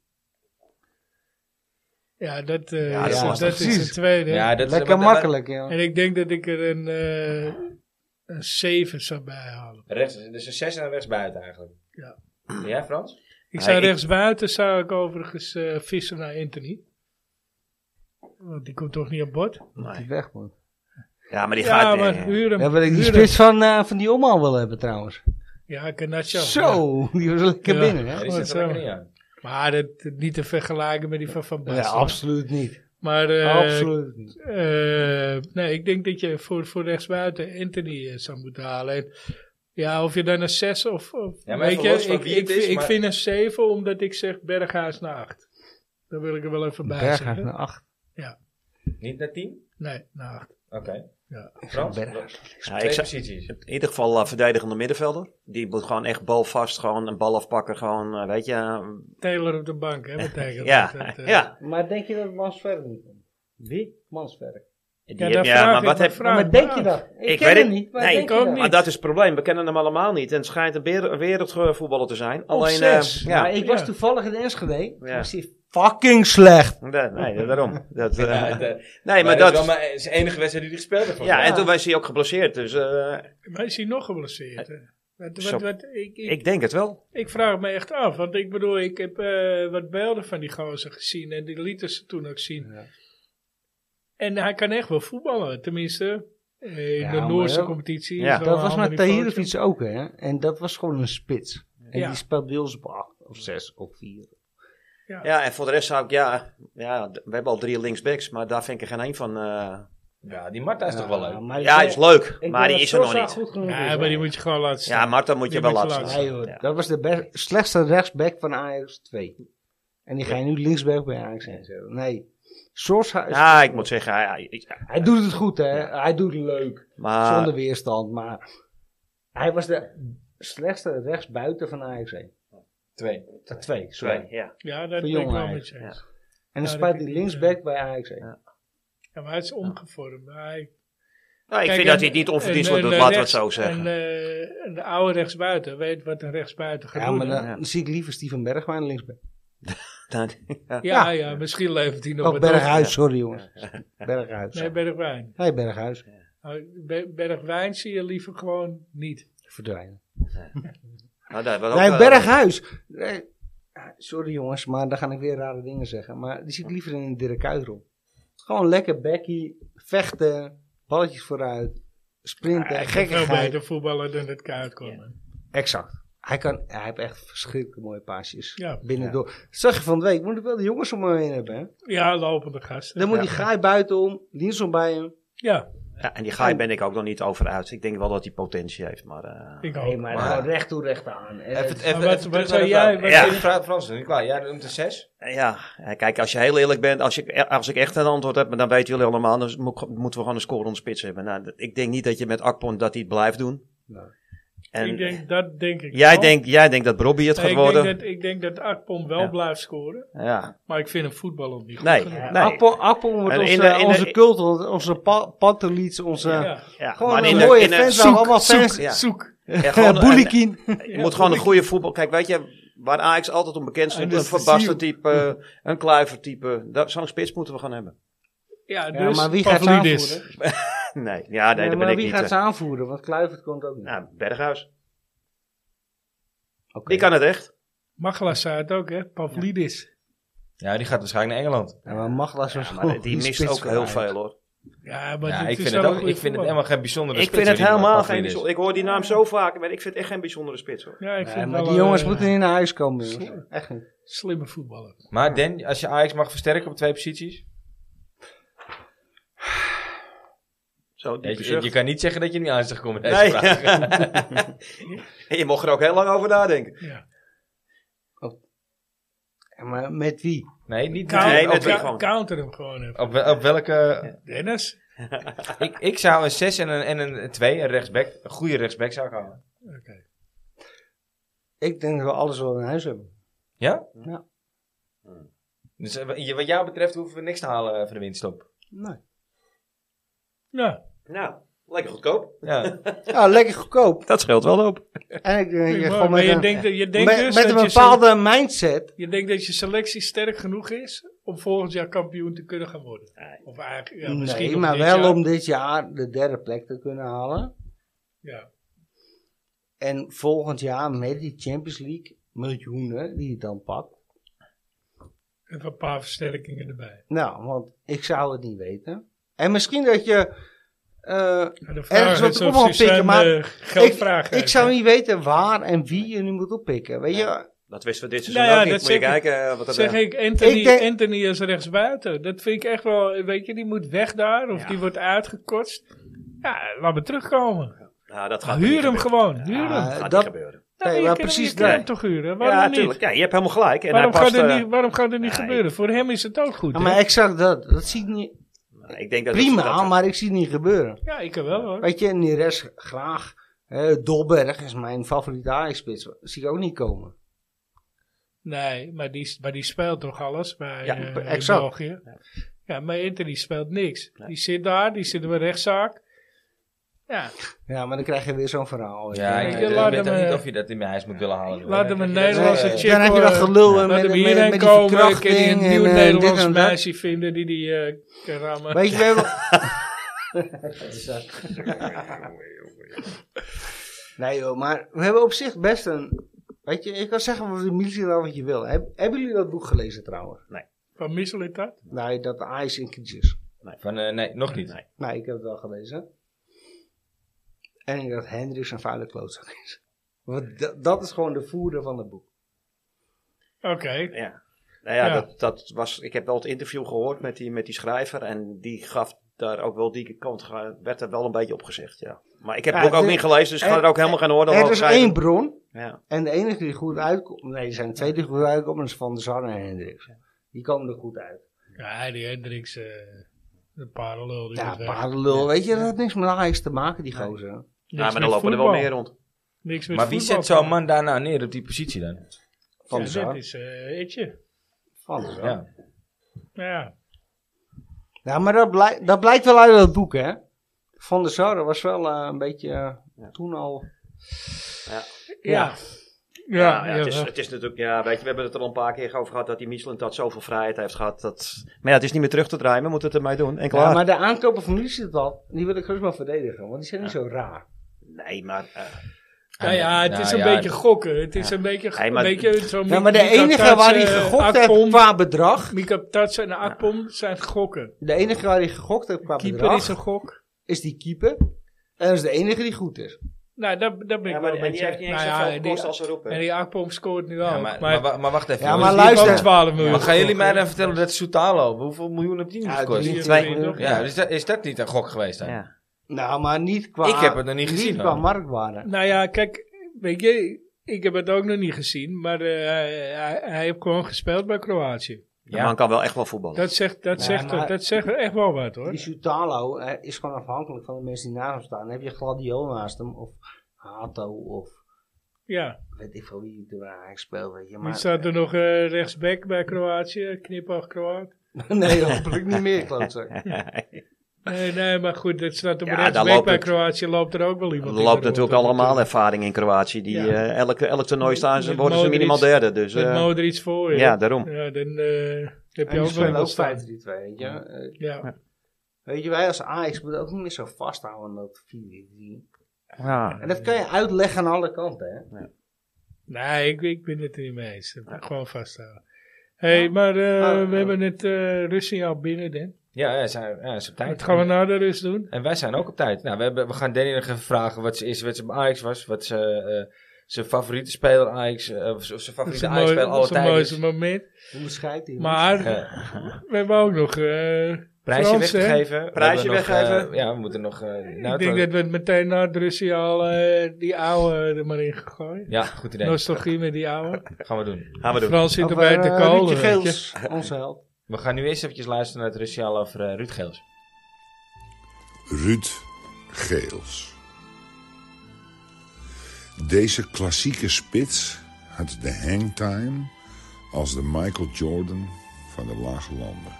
B: Ja, dat, eh,
G: Ja,
D: dat is
B: dat,
D: lastig.
B: is
D: Precies.
B: de tweede.
A: dat is-
D: Lekker
A: maar-
D: makkelijk, ja.
B: En ik denk dat ik er een, eh een zeven zou bijhalen.
A: maar Rechts, dus een zes en rechts buiten eigenlijk.
B: Ja.
A: Ja, Frans?
B: Ik
G: Nee,
B: zou
G: ik-
B: rechtsbuiten zou ik overigens eh, vissen naar Anthony. Want die komt toch niet aan bod.
D: Die weg, man.
G: Ja, maar die
B: Ja,
G: gaat...
B: maar
G: eh,
B: huur hem.
D: Ja, wil ik die
B: huur
D: spits van, eh, van die omhaal wel hebben trouwens.
B: hem. Ja, Garnacho. Ja.
D: Zo, die was lekker
B: Ja.
D: binnen.
A: Ja,
D: Hè?
A: die
B: Goed
A: zit er
B: zo.
A: lekker in, ja.
B: Maar dat, niet te vergelijken met die van Van
D: Ja,
B: Basten.
D: absoluut niet.
B: Maar eh,
D: absoluut niet.
B: eh, nee, ik denk dat je voor, voor rechtsbuiten Anthony eh, zou moeten halen. En ja, of je dan een 6 of... of
A: Ja, maar
B: weet
A: even
B: je,
A: los van
B: ik,
A: wie
B: ik,
A: het is,
B: vind- ik
A: maar-
B: vind een 7 omdat ik zeg Berghuis naar 8. Dan wil ik er wel even bij
D: Berghuis
B: zeggen.
D: naar acht.
A: Niet naar 10?
B: Nee, naar 8.
A: Oké.
B: Ja.
A: Frans?
D: Berghuis.
G: ja,
A: Twee
G: ik zou-
A: posities.
G: in ieder geval eh, verdedigende middenvelder. Die moet gewoon echt balvast, gewoon een bal afpakken. Gewoon, eh, weet je... eh,
B: Taylor op de bank, hè, betekent
G: ja,
B: dat. dat, eh,
G: ja.
D: Maar denk je dat Mansverre niet komt? Wie? Mansverre.
G: Die
B: Ja,
G: heb-
B: daar
G: ja,
B: vraag
G: maar
B: ik
G: wat
B: me
G: heb-
B: vraag
D: maar
B: me
D: denk
B: af.
D: je dat? Ik,
G: Ik
D: ken
G: weet
D: hem
G: het-
D: niet. Maar
G: nee,
D: denk
B: ik ook
D: je dat?
B: niet.
G: Maar dat is het probleem. We kennen hem allemaal niet. En het schijnt een wer- wereldvoetballer te zijn. Alleen,
D: zes.
G: eh, ja.
D: Maar ik was
B: Ja.
D: toevallig in Enschede.
G: Ja.
D: Ik zie fucking slecht.
G: Nee, nee, daarom. Dat, eh,
A: Ja, het, eh,
G: nee, maar
A: is wel
G: dat...
A: maar het is de enige wedstrijd die hij gespeeld heeft. volgens
G: Ja,
A: mij.
G: en toen was hij ook geblesseerd. Dus eh,
B: Maar is hij nog geblesseerd? hè? Wat,
G: Zo.
B: wat, wat, ik, ik,
G: ik denk het wel.
B: ik vraag me echt af. Want ik bedoel, ik heb eh, wat beelden van die gozer gezien. En die lieten ze toen ook zien.
D: Ja.
B: En hij kan echt wel voetballen. Tenminste, eh, in
D: Ja,
B: de Noorse
D: maar-
B: competitie.
G: Ja.
B: is wel
D: Dat
B: een
D: was
B: ander
D: met
B: niveautje.
D: Tahirovic ook, hè? En dat was gewoon een spits. En
B: Ja.
D: die speelt bij ons op 8 of 6 of 4.
G: Ja, en voor de rest zou ik... Ja, ja d- we hebben al drie linksbacks. Maar daar vind ik er geen één van... eh,
A: Ja, die Marta is toch wel leuk.
D: Maar ik
G: ja,
D: denk-
G: is leuk.
D: ik
G: Maar
D: denk
G: die is er
D: dat
G: nog
D: Sosa
G: niet.
D: goed genoeg
B: Ja,
D: is,
B: maar die
D: hoor.
B: moet je gewoon laten staan.
G: Ja, Marta moet je
B: Die
G: wel
B: moet je
G: laten
B: laten
G: staan.
D: Nee, hoor,
G: Ja.
D: Dat was de best- slechtste rechtsback van Ajax 2. En die ga je nu linksback bij Ajax inzetten. Nee. Sosa is-
G: Ja, ik moet zeggen, ja, ja, ja,
D: Hij doet het goed, hè? Hij doet het leuk. Zonder
G: maar
D: weerstand, maar hij was de slechtste rechtsbuiten van Ajax 1.
A: Twee.
D: Twee, sorry.
G: twee, ja. Nou,
B: Ja, dat ben
D: Voor
B: ik wel
D: jongen
B: met je eens.
D: En dan
B: Ja,
D: speelt
B: dat-
D: hij linksback bij Ajax 1.
B: Ja, maar hij is omgevormd. Hij
G: Nou, ik
B: Kijk,
G: vind dat
B: en-
G: hij het niet
B: en,
G: onverdienstelijk doet,
B: eh,
G: laten we het
B: rechts-
G: zo zeggen.
B: En eh, en de oude rechtsbuiten weet wat een rechtsbuiten gaat
D: Ja,
B: doen.
D: maar
B: hè?
D: dan zie ik liever Steven Bergwijn linksback.
G: Dan- ja.
B: Ja, ja, misschien levert hij nog
D: Oh,
B: wat
D: Berghuis, sorry jongens.
B: op.
D: Berghuis.
B: Nee,
D: Nee,
B: Bergwijn.
D: Berghuis.
B: Nou, Be- Bergwijn zie je liever gewoon niet.
D: Verdwijnen.
G: Nou, daar hebben we
D: Nee,
G: ook, eh,
D: Berghuis. Nee. Ah, Sorry jongens, maar dan ga ik weer rare dingen zeggen. Maar die zie ik liever in een Dirk Kuyt-rol. Gewoon lekker bekkie, vechten, balletjes vooruit, sprinten,
B: Hij kan veel
D: gekkigheid.
B: beter voetballen dan het kaart komen.
D: Exact. Hij, kan, hij heeft echt verschrikkelijk mooie paasjes.
B: Ja.
D: Binnendoor. Zag je van de week, moet ik wel de jongens om me heen hebben. Hè?
B: Ja, lopende gasten.
D: Dan moet die graai buitenom, Nielsen bij hem.
B: Ja,
G: ja, en die gaai ben ik ook nog niet over uit. Ik denk wel dat hij potentie heeft, maar... eh,
B: ik
D: Nee,
B: ook.
D: maar
A: Maar-
D: gewoon recht toe recht aan. En
A: Even,
D: het-
A: even,
B: Eh, wat-
A: even terug
B: wat zou
A: naar de
B: jij-
A: vraag.
B: wat
A: Ja.
G: zou-
A: Ik vraag Frans, nu klaar. Jij noemt een zes.
G: Ja, eh, kijk, als je heel eerlijk bent, als, je, als ik echt een antwoord heb, maar dan weten jullie allemaal, dan mo- moeten we gewoon een score onder spits hebben. Nou, dat- ik denk niet dat je met Akpon dat hij het blijft doen.
D: Nee.
G: En
B: ik denk, dat denk ik
G: jij,
B: wel.
G: denkt, jij denkt dat Bobby het
B: Nee,
G: gaat
B: ik
G: worden.
B: Denk dat, ik denk dat Akpom wel
G: Ja.
B: blijft scoren.
G: Ja,
B: Maar ik vind hem voetballer niet goed
G: Nee.
B: genoeg.
G: Ja.
D: Nee. Appel, Appel wordt
G: En
D: onze,
G: in de- in de-
D: onze cult, onze- onze pa Pantelits, onze...
B: Ja.
G: ja.
D: Gewoon
G: maar
D: een
G: in de-
D: mooie
G: in de-
D: fans,
G: zoek-
D: allemaal
G: zoek,
D: fans.
G: ja.
B: Zoek.
G: Ja, gewoon een-
D: Boelikin.
G: Je moet gewoon een goede voetbal. Kijk, weet je, waar Ajax altijd om bekend stond, een verbaster type, een kluiver type. dat- Zo'n spits moeten we gaan hebben.
B: Ja,
D: Ja,
B: dus
D: maar wie gaat ze
B: Pavlidis.
D: aanvoeren?
G: Nee, ja, nee,
D: Ja,
G: daar
D: maar
G: ben ik
D: wie
G: niet.
D: gaat
G: eh.
D: ze aanvoeren? Want Kluivert komt ook niet.
G: Nou, Berghuis.
D: Oké.
G: Die kan het echt.
B: Magla zei het ook, hè? Pavlidis.
A: Ja, die gaat waarschijnlijk naar Engeland.
D: Ja, maar Maglas was
G: Ja,
D: gewoon
G: maar die
D: goede
G: mist
D: Oh, spits
G: ook
D: voor
G: heel
D: Ajax.
G: veel hoor.
B: Ja, maar
A: Ja,
B: dit
A: ik
B: is
A: vind,
B: wel
A: het
B: een
A: ook,
B: goede
A: ik vind het
B: voetballer.
A: helemaal geen bijzondere
G: Ik
A: spits,
G: vind het
A: die man,
G: helemaal geen
A: Pavlidis.
G: bijzonder. Ik hoor die naam zo vaak, maar ik vind echt geen bijzondere spits hoor.
B: Ja, ik
D: Nee,
B: vind
D: maar
B: wel
D: die
B: een,
D: jongens
B: eh,
D: moeten in huis komen. jongens. Echt niet.
B: Slimme voetballer.
A: Maar Den, als je Ajax mag versterken op twee posities.
G: Zo,
A: Je,
G: diepe
A: je,
G: zucht.
A: je kan niet zeggen dat je niet aan is gekomen met deze
G: Nee.
A: vraag.
G: En je mocht er ook heel lang over nadenken.
B: Ja.
D: Ja, maar met wie?
A: Nee, niet
B: Counter,
G: nee, dat
A: op,
G: doe ik
B: cou-
G: gewoon.
B: counter hem gewoon even.
A: op, wel- op welke...
B: Dennis?
A: Ik, ik zou een 6 en een 2, en een, twee, een rechtsback, een goede rechtsback zou ik houden.
B: Oké.
D: Ik denk dat we alles wel in huis hebben.
A: Ja?
D: Ja.
A: Dus eh, wat- je- wat jou betreft hoeven we niks te halen eh, voor de winst op.
D: Nee.
B: Nou,
G: Nou, lekker goedkoop.
A: Ja.
D: Ja, lekker goedkoop.
G: Dat scheelt wel op.
D: En ik denk dat je
B: prima. maar
D: gewoon met
B: je
D: een,
B: denkt, dat- je denkt
D: met,
B: dus
D: met
B: dat
D: een
B: je, sele-
D: bepaalde mindset.
B: je denkt dat je selectie sterk genoeg is om volgend jaar kampioen te kunnen gaan worden. Of eigenlijk, ja, misschien
D: nee,
B: nog
D: maar
B: dit
D: wel
B: jaar.
D: om dit jaar de derde plek te kunnen halen.
B: Ja.
D: En volgend jaar met die Champions League miljoenen die je dan pakt.
B: Even een paar versterkingen erbij.
D: Nou, want ik zou het niet weten. En misschien dat je eh,
B: Ja, de vraag
D: ergens op
B: is
D: de
B: of
D: kop
B: ze
D: wel pikken,
B: Sven,
D: maar
B: eh, geld vragen.
D: ik zou niet weten waar en wie je nu moet oppikken. Weet je,
G: Dat wisten we dit seizoen
B: Nou ja,
G: ook niet.
B: dat
G: Moet je
B: zeg ik.
G: kijken eh, wat dat
B: Zeg
G: eh,
B: ik, Anthony,
D: Ik denk-
B: Anthony is rechtsbuiten. Dat vind ik echt wel, weet je, die moet weg daar. Of die wordt uitgekotst. Ja, laat me terugkomen.
G: nou, dat gaat niet
B: Huur hem
G: gebeuren.
B: gewoon, huur hem.
D: Ja,
G: Dat gaat
D: Dat-
G: niet gebeuren.
B: Nou,
D: Nee,
B: je
D: maar
B: kan-
D: precies
B: Je kan hem
D: dat.
B: toch huren, waarom
G: Ja,
B: niet?
G: tuurlijk. Ja, je hebt helemaal gelijk. En
B: Waarom,
G: hij past,
B: gaat er
G: eh,
B: niet, waarom gaat er niet
G: nee.
B: gebeuren? Voor hem is het ook goed.
D: ja,
B: hè?
D: maar exact dat. Dat zie ik niet
G: ik denk dat dat-
D: prima,
G: dat-
D: maar ik zie het niet gebeuren.
B: Ja, ik kan wel hoor.
D: Weet je, en die rest graag. Eh, Dolberg is mijn favoriete Ajax-spits. Zie ik ook niet komen.
B: Nee, maar die, maar die speelt toch alles bij
G: Ja,
B: eh,
D: exact.
B: België? Ja, maar Anthony speelt niks. Die zit daar, die zit in een rechtszaak. Ja,
D: Ja, maar dan krijg je weer zo'n verhaal.
A: Ja, ik,
B: Ja,
A: ik
B: je laat
A: weet
B: hem,
A: ook niet
B: eh,
A: of je dat in mijn huis moet willen halen.
B: laat
A: Dan
B: hem een
A: krijg je dat-
B: Nederlandse
A: Eh,
B: chick
D: dan heb je dat
B: eh,
D: gelul
B: laat
D: en met,
B: hem
D: met, met,
B: hierheen
D: die
B: komen. Kan hij
D: verkrachting
B: een
D: en,
B: nieuw
D: eh, dit
B: Nederlands
D: en dat.
B: meisje vinden die die eh, kan rammen.
D: Weet je, we hebben... nee joh, maar we hebben op zich best een... Weet je, je kan zeggen wat de militie nou wat je wil. Heb- hebben jullie dat boek gelezen trouwens?
B: Van Missel is dat?
D: Nee, dat IJs in crisis.
A: Van, eh, nee, nog niet.
D: Nee, ik heb het wel gelezen. En dat Hendricks een vuile klootzak is. Want da- dat is gewoon de voerder van het boek.
B: Oké.
G: Ja. Nou ja,
B: Ja.
G: Dat, dat was, ik heb wel het interview gehoord met die, met die schrijver. En die gaf daar ook wel die kant, ge- werd er wel een beetje op gezegd, ja. Maar ik heb
D: Ja,
G: het boek ook
D: dit-
G: niet gelezen, dus ik ga
D: er-
G: er ook helemaal geen oordeel
D: Er
G: over
D: is
G: schrijven.
D: één bron
G: Ja.
D: En de enige die goed uitkomt, nee, er zijn twee die goed uitkomen, dat is Van der Sar en Hendricks. Die komen er goed uit.
B: Ja, die Hendricks, eh de parallel. Die
D: Ja,
B: is weg.
D: paardenlul, weet je, dat heeft niks met Ajax te maken, die gozer.
B: Niks
G: ja, maar dan
B: met
G: lopen er wel
B: voetbal.
G: meer rond.
B: Niks met
A: Maar wie
B: voetbal
A: zet zo'n
B: te
A: man daar nou neer op die positie dan?
B: maken.
D: Van der
B: Ja, dat
D: Sar.
B: is eh Etje.
D: Van der Sar. Ja.
A: Ja.
B: Ja.
D: maar dat, blijkt dat blijkt wel uit dat boek, hè. Van der Sar was wel eh, een beetje eh, toen al...
B: Ja.
G: Ja, ja,
B: ja,
G: het, is,
B: wel.
G: het is natuurlijk, ja, weet je, we hebben het er al een paar keer over gehad dat die Michelin dat zoveel vrijheid heeft gehad. Dat, maar ja, het is niet meer terug te draaien, we moeten het ermee doen. En klaar.
D: Ja, maar de aankopen van nu zit dat, die wil ik gerust wel verdedigen, want die zijn niet zo raar.
G: Nee, maar, eh,
B: Nou ja, het
A: Nou
B: is een
A: ja,
B: beetje gokken. Het is een beetje,
G: Hey, maar-
B: een beetje zo'n
D: Ja, maar de enige waar hij
B: eh,
D: gegokt heeft qua bedrag,
B: Mika Tatsa en Akpom zijn gokken.
D: de enige waar hij gegokt heeft qua
B: Keeper is een
D: bedrag,
B: gok.
D: is die keeper. En dat is de enige die goed is.
B: Nou, dat, dat ben ik
G: ja,
B: wel
G: maar en die heeft niet eens
B: Nou ja,
G: zoveel
B: die-
G: gekost als ze roepen.
B: En die Akpom scoort nu
A: Ja, maar,
B: al. Maar,
A: maar, wa- maar wacht even.
D: Ja,
A: jongens.
D: maar
B: die heeft ook
D: luister.
B: 12 miljoen.
A: Maar gaan jullie mij
B: gekocht,
A: dan vertellen dat Soutalo, hoeveel miljoen heeft die niet gekost?
D: drie-
B: twee.
A: Ja, is dat, is dat niet een gok geweest dan?
G: Ja.
D: Nou, maar niet qua...
A: Ik heb het nog niet gezien,
D: qua
A: hoor.
B: hè.
D: marktwaarde.
B: Nou ja, kijk, weet je, ik heb het ook nog niet gezien. Maar eh, hij, hij, hij heeft gewoon gespeeld bij Kroatië.
G: De man kan wel echt wel voetballen.
B: Dat zegt, dat
D: Ja,
B: zegt,
D: maar-
B: dat zegt echt wel wat hoor.
D: Die Soutalo eh, is gewoon afhankelijk van de mensen die naast hem staan. Dan heb je Gladio naast hem, of Hato, of
B: Ja,
D: weet ik veel wie er aan speelt, weet je.
B: nu
D: Maar,
B: staat er nog eh, rechtsback bij Kroatië. Knipoog Kroaat.
D: nee, dat lukt niet meer, klootzak.
B: Nee, nee, maar goed, dat staat op
G: Ja,
B: rechtsback
G: daar loopt
B: bij
G: het.
B: Kroatië. Loopt er ook wel
G: Er
B: iemand in
G: loopt
B: de
G: natuurlijk
B: rondte,
G: allemaal ervaring in Kroatië. Die,
B: Ja.
G: eh, elk, elk toernooi staan ze,
B: Met
G: worden ze
B: Modric.
G: minimaal derde. Dus,
B: Met
G: eh,
B: Modric voor je.
G: ja, daarom.
B: Ja, dan eh, heb je
D: En die
B: ook wel
D: spelen ook
B: wat
D: 5-3-2,
B: staan.
D: weet je. Eh,
B: Ja.
D: weet je, wij als Ajax moeten ook niet meer zo vasthouden aan dat 4-3.
G: Ja.
D: En dat kan je uitleggen aan alle kanten, hè.
B: Nee, ik, ik ben het er niet mee eens. Dat moet ik Gewoon vasthouden. hey, maar eh,
D: Ah,
B: we
D: eh.
B: hebben het eh rustsignaal binnen, Dan.
A: Ja, ja, zijn, ja, is op tijd.
B: Wat gaan we na de rust doen?
A: En wij zijn ook op tijd. Nou, we, hebben, we gaan Danny nog even vragen wat zijn eerste wedstrijd bij Ajax was. Wat zijn, eh, zijn favoriete speler Ajax, eh, of zijn
B: Dat is
A: favoriete
B: een mooi-
A: Ajax-speler
B: dat
A: alle
B: is een
A: tijden
G: dus.
B: mooiste
A: is.
B: moment.
D: Hoe bescheidt hij?
B: Maar
A: Eh,
B: we hebben ook nog eh
A: prijsje
B: Frans, hè?
A: weggeven. We
G: Prijsje
A: hebben nog,
G: weggeven.
A: eh, ja, we moeten nog... eh, nou,
B: ik
A: het-
B: denk dat we het meteen na het rustsignaal eh, die oude er maar in gaan gooien.
A: Ja, goed idee.
B: Nostalgie met die oude.
A: Gaan we doen.
G: Gaan we doen.
B: Frans zit erbij te kolen. weet je.
D: Geels, onze held.
A: We gaan nu eerst eventjes luisteren naar het Russiaal over eh, Ruud Geels.
H: Ruud Geels. Deze klassieke spits had de hangtime als de Michael Jordan van de lage landen.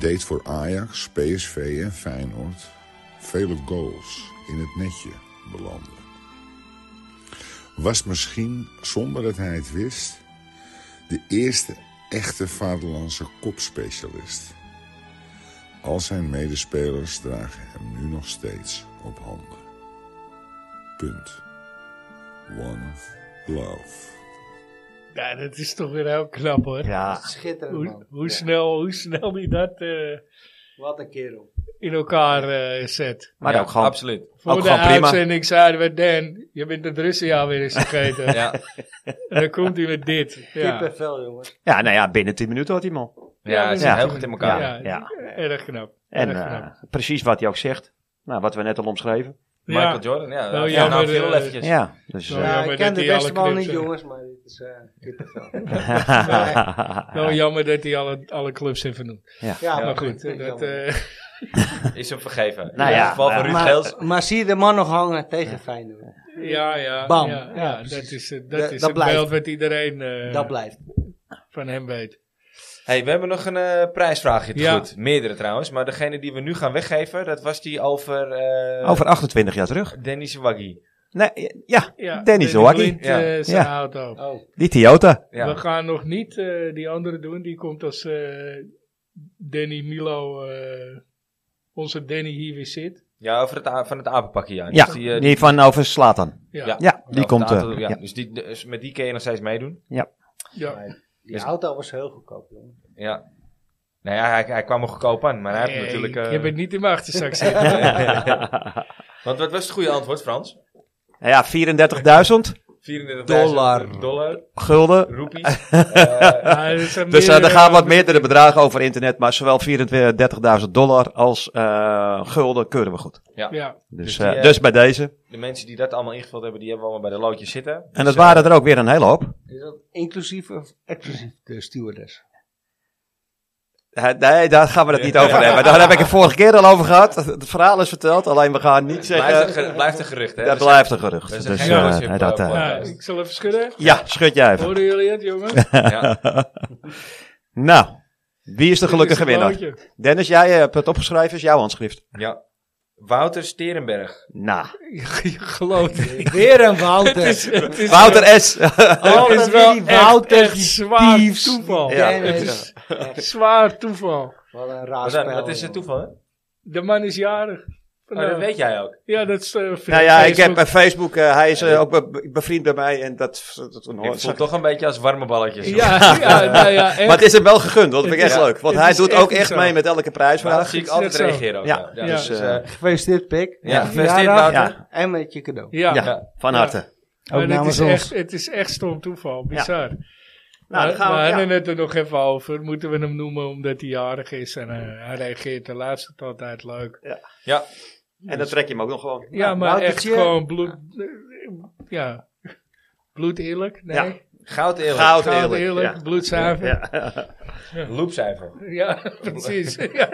H: Deed voor Ajax, PSV en Feyenoord vele goals in het netje belanden. Was misschien, zonder dat hij het wist, de eerste echte vaderlandse kopspecialist. Al zijn medespelers dragen hem nu nog steeds op handen. Punt. One love.
B: Ja, dat is toch weer heel knap hoor.
G: Ja,
D: Schitterend,
B: Hoe,
D: man.
B: hoe, snel, hoe snel die dat... eh,
D: Wat een kerel.
B: in elkaar eh, zet.
G: Maar
A: ja,
G: ook gewoon,
A: Absoluut.
B: Voor
G: Ook
B: de
G: gewoon prima.
B: uitzending zeiden we, Dan, je bent het Russenjaar weer eens vergeten.
A: Ja.
B: En dan komt hij met dit. Ja,
D: Kippenvel, jongen.
G: ja, nou ja, binnen 10 minuten had hij hem al.
A: Ja, het zit heel goed in elkaar.
B: Ja,
G: Ja.
B: erg knap.
G: En
B: erg
G: eh,
B: knap.
G: precies wat hij ook zegt. Nou, wat we net al omschreven.
A: Michael
B: Ja.
A: Jordan, ja.
B: Wel
A: ja,
B: jammer,
A: nou, veel
B: eh,
A: eventjes.
G: Ja, dus...
B: Ja.
G: eh,
D: Ja,
B: jammer
D: ik
B: dat
D: ken de
B: die alle
D: beste man
B: knips
D: niet,
B: heeft.
D: jongens, maar dit is eh kippenvel.
G: eh,
B: Wel jammer dat hij alle, alle clubs heeft vernoemd.
D: Ja,
B: maar goed, dat, eh,
A: Is hem vergeven.
G: Nou
A: In
G: ja,
A: het geval van
G: maar-
A: Ruud Geels.
D: maar, maar zie je de man nog hangen tegen Feyenoord?
B: ja, ja,
D: Bam.
B: ja,
D: Ja,
B: ja, dat
D: precies.
B: is, het- dat
D: Dat-
B: is
D: dat
B: het
D: blijft.
B: beeld wat iedereen eh,
D: Dat blijft.
B: van hem weet.
A: Hey, we hebben nog een eh, prijsvraagje te
B: Ja.
A: goed. Meerdere trouwens. Maar degene die we nu gaan weggeven, dat was die over, eh
G: Over 28 jaar terug.
A: Dennis Waggy.
G: Nee, ja,
B: Ja,
G: Dennis
B: Danny
G: Hockey.
B: Blind,
A: Ja.
B: eh, zijn
G: Ja.
B: auto.
D: Oh,
G: die Toyota.
A: Ja.
B: We gaan nog niet eh, die andere doen. Die komt als eh, Danny Milo, eh, onze Danny hier weer zit.
A: ja, over het, a- van het apenpakje. Ja,
G: Ja,
A: Dus die, eh,
G: die van over Slatan.
A: Ja.
B: Ja, ja.
G: Ja,
A: over
G: die
A: het
G: komt. eh,
A: aantal- ja,
G: ja.
A: Dus, die, dus met die kun je nog steeds meedoen.
D: die
A: Is-
D: auto was heel goedkoop, jongen.
A: Ja. Nou ja, hij, hij kwam er goedkoop aan, maar hij heeft
B: Nee,
A: natuurlijk...
B: Je
A: eh,
B: hebt het niet in mijn achterzak zitten.
A: Want wat was het goede antwoord, Frans?
G: Nou Ja, 34.000
A: 34.000
D: Dollar.
A: dollar,
G: gulden.
A: roepies. Eh,
B: Ja, er zijn
G: Dus eh,
B: meerdere-
G: er gaan wat meerdere bedragen over internet, maar zowel 34.000 dollar als eh, gulden keuren we goed.
B: Ja,
G: Dus,
A: Dus die,
G: eh,
A: eh,
G: dus bij deze.
A: de mensen die dat allemaal ingevuld hebben, die hebben we allemaal bij de loodjes zitten. Dus, eh,
G: En dat waren er ook weer een hele hoop.
D: Is dat inclusief of exclusief de stewardess?
G: Eh, Nee, daar gaan we het niet over hebben. Daar heb ik het vorige keer al over gehad. Het verhaal is verteld, alleen we gaan niet
A: Blijft een,
G: zeggen...
A: ge- blijft een gerucht, hè?
G: Dat
A: Dus-
G: blijft een
A: dat is
G: gerucht.
A: een
G: Dus,
A: gekke
G: eh,
A: gossip, eh,
G: dat, eh,
A: voor-
B: Nou, ik zal even schudden.
G: ja, schud jij even.
B: Hoorden jullie het, jongen?
A: ja.
G: Nou, wie is de gelukkige
B: Dit is het
G: winnaar?
B: loodje.
G: Dennis, jij eh, hebt het opgeschreven, is jouw handschrift.
A: ja. Wouter Sterenberg.
G: Nou,
B: Je gelooft het.
D: Weer een Wouter.
B: Het is
G: Wouter S.
D: Oh,
B: Het
D: dat
B: is wel
D: die
B: echt-
D: Wouter,
B: echt
D: die
B: zwaar
D: Steve's, die
B: toeval.
G: Ja.
D: Dennis.
B: Het is zwaar toeval.
D: Wat een raar
A: Wat
D: spel.
A: dan? Dat is het
D: jongen.
A: toeval, hè? Oh,
B: De man is jarig.
D: Oh,
A: dat weet jij ook.
B: Ja, dat is... eh,
G: nou ja, ik heb
B: Facebook.
G: bij Facebook, eh, hij is eh, ook be- bevriend bij mij en dat... dat, dat
A: Ik voel toch een beetje als warme balletjes.
B: Ja, ja, nou ja, echt.
G: maar het is hem wel gegund, want dat vind ik
B: Het
G: echt
A: is-
G: leuk. Want
B: het
G: hij
B: is
G: doet
B: echt
G: ook
B: niet
G: echt
B: zo.
G: mee met elke
A: Maar dat
G: prijsvraag.
A: zie ik
B: is
A: altijd
B: net zo.
A: reageren ook.
G: Ja.
A: Ja, ja,
B: Ja.
A: dus, eh,
G: Ja.
D: Gefeliciteerd, Pik.
A: Ja,
D: Met je
A: gefeliciteerd,
D: verjaardag
A: Wouter.
D: En met je cadeau.
B: Ja,
G: Ja,
A: Ja.
G: van
B: Ja.
G: harte.
B: maar
D: Ook
B: het
D: namens
B: is
D: ons.
B: echt, het is echt stom toeval. Bizar.
G: Nou,
B: Nou,
G: dan
B: we
G: gaan we...
B: hadden
G: ja.
B: het er nog even over. Moeten we hem noemen omdat hij jarig is en eh, hij reageert de laatste tijd altijd leuk.
A: ja.
G: En dan trek je hem ook nog gewoon.
B: Ja, maar echt
D: Woutertje.
B: gewoon bloed... Ja, bloed eerlijk. Nee,
G: Ja.
A: Goud eerlijk.
G: Goud
B: goud
G: eerlijk.
B: eerlijk,
G: ja.
B: bloedzuiver. Ja,
A: Loopcijfer.
B: precies. Ja.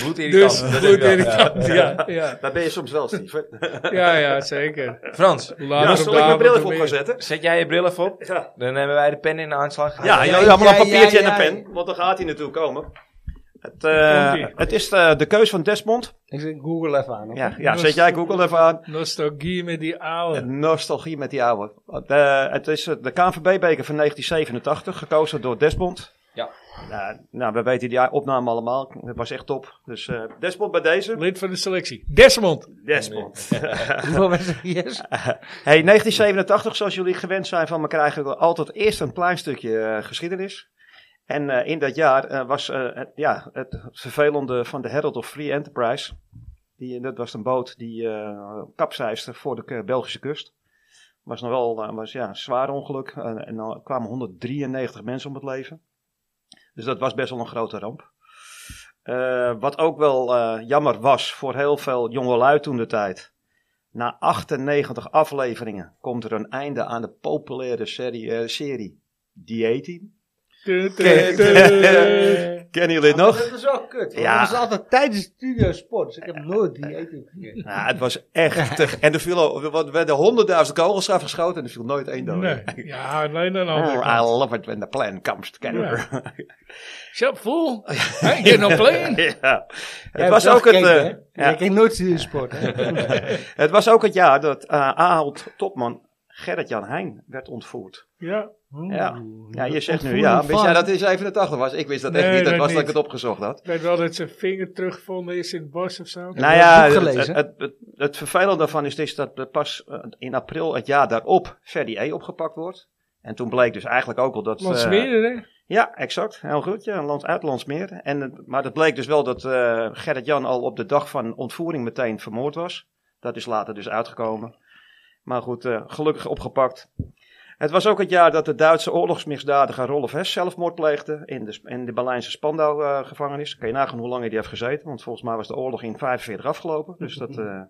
A: Bloedirritant.
B: Dus
A: Dat heb je
B: bloed
A: wel,
B: irritant. Ja, ja.
G: Daar ben je soms wel, Steve.
B: Ja, ja, zeker.
A: ja. Frans,
B: Later op de
G: zal ik mijn
B: avond
G: bril
B: nog
G: even op gaan
B: meer.
G: zetten?
A: zet jij je bril even op.
G: Ja.
A: Dan hebben wij de pen in de aanslag.
G: Ja,
D: ja,
G: ja,
D: ja,
G: maar
D: ja,
G: een papiertje
D: ja,
G: en een
D: ja.
G: pen, want dan gaat hij natuurlijk komen. Het,
B: Komt-ie.
G: eh, het is eh, de keus van Desmond.
D: Ik zeg, Google even aan. hoor.
G: Ja, ja zet jij Google even aan.
B: Nostalgie met die
G: Eh,
B: oude.
G: Nostalgie met die oude. Eh, het is eh, de KNVB-beker van 1987, gekozen door Desmond.
A: Ja.
G: Nou, nou, we weten die opname allemaal. Het was echt top. Dus eh, Desmond bij deze.
B: Lid van de selectie. Desmond.
G: Desmond.
D: Hoeveel was er? Yes.
G: Hey, 1987, zoals jullie gewend zijn van me, krijgen we altijd eerst een klein stukje eh, geschiedenis. En eh, in dat jaar eh, was eh, het, ja, het vervelende van de Herald of Free Enterprise. Die, dat was een boot die eh kapseisde voor de eh, Belgische kust. Was nog wel eh, was, ja, een zwaar ongeluk. Eh, en dan kwamen 193 mensen om het leven. Dus dat was best wel een grote ramp. Eh, wat ook wel eh, jammer was voor heel veel jongelui toen de tijd. Na 98 afleveringen komt er een einde aan de populaire serie, eh, serie The 18
B: Tu, tu,
G: Kijk.
B: tu, tu.
G: Kennen jullie het nog?
D: Dat is wel kut. want
G: Ja.
D: Dat was altijd tijdens Studio Sport. Dus ik heb nooit die eten gekregen.
G: Nou, het was echt te- En er, viel, er werden honderdduizend kogels afgeschoten en er viel nooit één dood.
B: Nee. Ja, alleen dan al.
G: Oh, I love it when the plan comes together.
B: Shut fool. I get no
G: Ja.
B: plane.
G: Het, was ook het, eh, ja.
D: Ik kreeg nooit Studio Sport. hè?
G: het was ook het jaar dat eh Ahold topman Gerrit-Jan Heijn werd ontvoerd.
B: Ja.
G: Ja.
D: Oeh,
G: Ja, je zegt nu
D: ontvoering
G: ja. Wist
D: van-
G: jij dat in 87 was? Ik wist dat echt
B: Nee,
G: niet. Dat
B: dat
G: was dat ik
B: niet.
G: het opgezocht had.
B: Ik weet wel dat zijn vinger teruggevonden is in het bos of zo.
G: Nou
D: je
G: ja,
D: het boek
G: het,
D: gelezen?
G: het- het- het vervelende daarvan is, dus dat er pas eh, in april het jaar daarop Ferdi E opgepakt wordt. En toen bleek dus eigenlijk ook al dat...
B: Want
G: eh,
B: smeren, hè?
G: Ja, exact. Heel goed. Ja, land uitlands meer. En, het- maar het bleek dus wel dat eh Gerrit-Jan al op de dag van ontvoering meteen vermoord was. Dat is later dus uitgekomen. Maar goed, eh, gelukkig opgepakt. Het was ook het jaar dat de Duitse oorlogsmisdadiger Rolf Hess zelfmoord pleegde in de, in de Berlijnse Spandau-gevangenis. Kan je nagaan hoe lang hij die heeft gezeten, want volgens mij was de oorlog in 45 afgelopen. Dus dat... eh,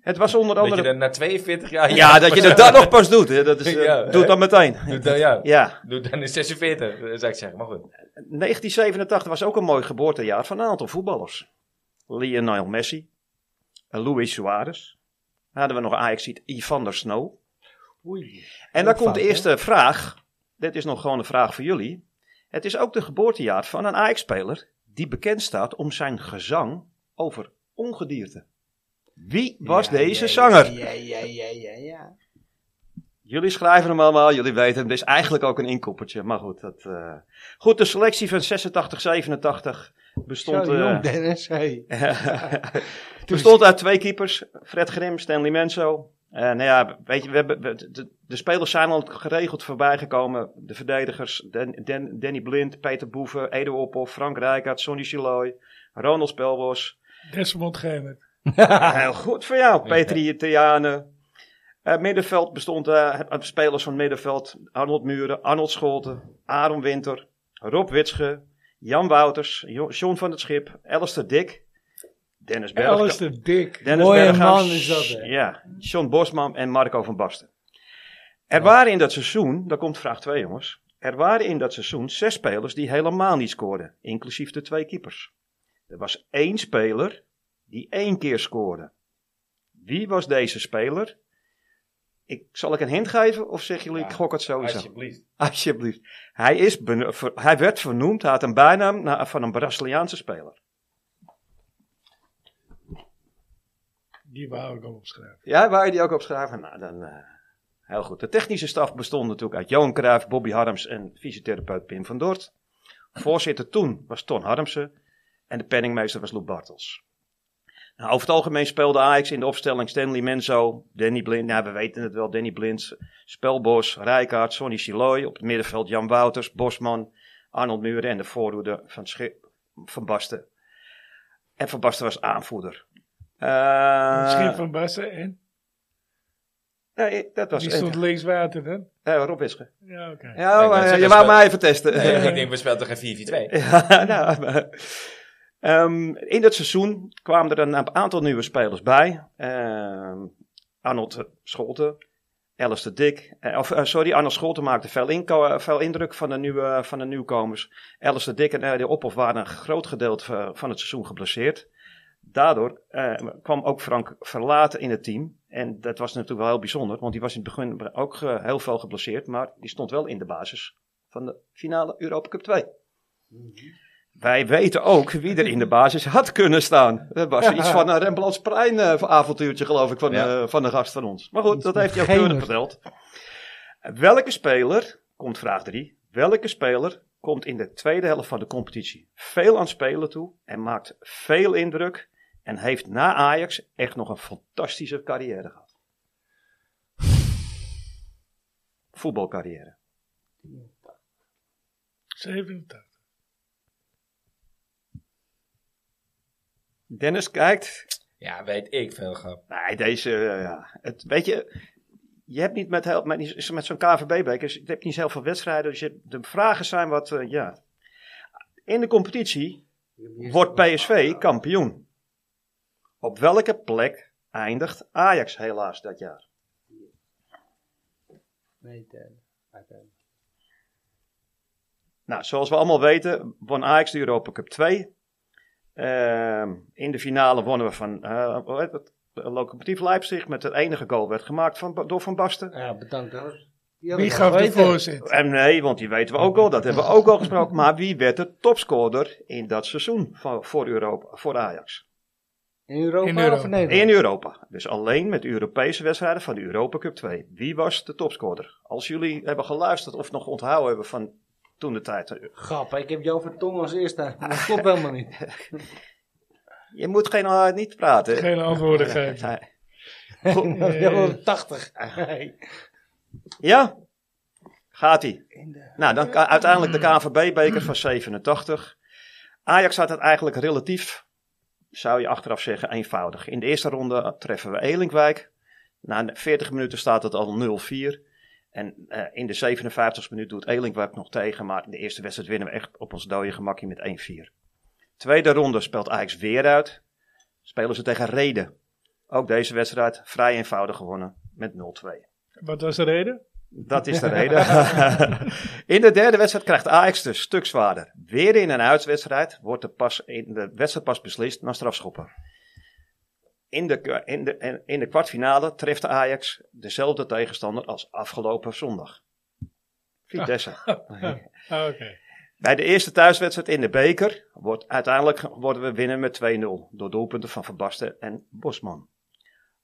G: het was onder
A: Dat
G: andere...
A: je er na 42 jaar...
G: Ja, dat je dat dan nog pas doet. hè, Dat is, eh,
A: Ja,
G: doe het dan meteen.
A: Doet dan, ja.
G: Ja,
A: Doet dan in 46, zou ik zeggen. Maar goed.
G: Oh, 1987 was ook een mooi geboortejaar van een aantal voetballers. Lionel Messi, Luis Suarez. Dan hadden we nog ajax Ivan der Snow.
D: Oei.
G: En dan
E: Ook
G: komt de
E: vaak,
G: eerste vraag. Dit is nog gewoon een vraag voor jullie. Het is ook de geboortejaar van een Ajax-speler die bekend staat om zijn gezang over ongedierte. Wie was deze zanger?
D: Ja, ja, ja, ja, ja.
G: Jullie schrijven hem allemaal, jullie weten hem. Dit is eigenlijk ook een inkoppertje, maar goed. Dat, eh. Goed, de selectie van 86, 87 bestond...
D: Zo jong,
G: eh
D: Dennis. Hey.
G: bestond uit twee keepers, Fred Grim, Stanley Menso. Eh nou ja, weet je, we hebben, we- de, de spelers zijn al geregeld voorbij gekomen. De verdedigers, Dan- Dan- Danny Blind, Peter Boeven, Edo Oppel, Frank Rijkaard, Sonny Siloy, Ronald Spelbos.
B: Desmond Gemert.
G: Heel goed voor jou, Petri Theane. Eh, middenveld bestond eh, uit spelers van middenveld. Arnold Muren, Arnold Scholten, Aaron Winter, Rob Witsche, Jan Wouters, Jo- John van het Schip, Alistair Dick, Dennis Bergkamp.
B: Alistair Dick.
G: Dennis
D: Mooie
G: Bergkamp,
D: man is dat, hè?
G: Ja, John Bosman en Marco van Basten. Er waren in dat seizoen, daar komt vraag 2 jongens. Er waren in dat seizoen zes spelers die helemaal niet scoorden, inclusief de twee keepers. Er was één speler die één keer scoorde. Wie was deze speler? Ik, zal ik een hint geven of zeggen jullie,
A: Ja,
G: ik gok het sowieso?
A: Alsjeblieft.
G: Alsjeblieft. Hij, is beno- ver- hij werd vernoemd, hij had een bijnaam na- van een Braziliaanse speler.
B: Die wou ik al opschrijven.
G: Ja, waar je die ook op schrijven? Nou, dan eh, heel goed. De technische staf bestond natuurlijk uit Johan Cruijff, Bobby Harms en fysiotherapeut Pim van Dort. Voorzitter toen was Ton Harmsen en de penningmeester was Lou Bartels. Nou, over het algemeen speelde Ajax in de opstelling Stanley Menzo, Danny Blind, nou we weten het wel, Danny Blind, Spelbos, Rijkaard, Sonny Siloy, op het middenveld Jan Wouters, Bosman, Arnold Muren en de voorhoede van, Schi- van Basten. En Van Basten was aanvoerder. Eh,
B: Schip van Bassen en?
G: Nee, dat was
B: Die stond links water dan?
G: eh, Rob Witsche.
B: Ja, oké.
G: Ja,
A: ik wou
G: maar, eh,
A: zeggen,
G: je wou
A: speel-
G: mij even testen.
A: Eh, ik denk, we spelen toch geen 4-4-2?
G: ja, nou, maar- Ehm, in dat seizoen kwamen er een aantal nieuwe spelers bij. Ehm, Arnold Scholten, Alistair Dick. eh, of, eh, sorry, Arnold Scholten maakte veel, inko- eh, veel indruk van de, nieuwe, van de nieuwkomers. Alistair Dick en eh, de Ophof waren een groot gedeelte van- van het seizoen geblesseerd. Daardoor eh, kwam ook Frank Verlaten in het team. En dat was natuurlijk wel heel bijzonder, want die was in het begin ook eh, heel veel geblesseerd. Maar die stond wel in de basis van de finale Europa Cup 2. Wij weten ook wie er in de basis had kunnen staan. Dat was iets van een Rembrandts Plein eh, avontuurtje, geloof ik, van,
A: Ja.
G: eh, van de gast van ons. Maar goed, dat heeft hij ook
D: Gemert.
G: keurig verteld. Welke speler, komt vraag 3, welke speler komt in de tweede helft van de competitie veel aan spelen toe en maakt veel indruk en heeft na Ajax echt nog een fantastische carrière gehad? Voetbalcarrière.
B: 87.
G: Dennis kijkt
A: Ja, weet ik veel grap.
G: Nee, deze, eh, ja. Het, weet je, je hebt niet met, heel- met, met zo'n KVB-beker, je hebt niet zoveel wedstrijden, dus je, de vragen zijn wat, eh, ja. In de competitie wordt PSV kampioen. Op welke plek eindigt Ajax helaas dat jaar?
D: Nee, Dennis. Uiteindelijk.
G: Nou, zoals we allemaal weten, won Ajax de Europa Cup 2. Ehm, in de finale wonnen we van eh, hoe heet het, Locomotief Leipzig met het enige goal werd gemaakt van, door Van Basten.
D: Ja, bedankt Dennis. Die had
B: Wie
D: ik
B: gaf de
D: geweten.
B: voorzet?
G: En nee, want die weten we ook al, dat hebben we ook al gesproken. Maar wie werd de topscorer in dat seizoen van, voor, Europa, voor Ajax?
D: In Europa,
B: In Europa.
D: of in Nederland?
G: In Europa. Dus alleen met Europese wedstrijden van de Europa Cup 2. Wie was de topscorer? Als jullie hebben geluisterd of nog onthouden hebben van toen de tijd. eh,
D: Grap, ik heb jou vertongen als eerste. Dat klopt helemaal niet.
G: Je moet geen, eh, niet praten.
B: Geen antwoorden geven. Eh,
G: Nee.
D: Dat is wel 80.
G: Ja? Gaat ie.
D: In de- Hmm.
G: Nou, dan ka- uiteindelijk de KNVB-beker van 87. Ajax had het eigenlijk relatief, zou je achteraf zeggen, eenvoudig. In de eerste ronde treffen we Elinkwijk. Na 40 minuten staat het al 0-4. En eh, in de 57 minuut doet Elinkwijk nog tegen. Maar in de eerste wedstrijd winnen we echt op ons dode gemakje met 1-4. Tweede ronde speelt Ajax weer uit. Spelen ze tegen Reden. Ook deze wedstrijd vrij eenvoudig gewonnen met 0-2.
B: Wat was de reden?
G: Dat is de reden. in de derde wedstrijd krijgt Ajax dus stuk zwaarder. Weer in een uitwedstrijd wordt de, pas, in de wedstrijd pas beslist na strafschoppen. In de, kwa- in, de, in de kwartfinale treft Ajax dezelfde tegenstander als afgelopen zondag. Vitesse.
B: Ah, Oké.
G: Bij de eerste thuiswedstrijd in de beker wordt uiteindelijk worden we winnen met 2-0 door doelpunten van Van Basten en Bosman.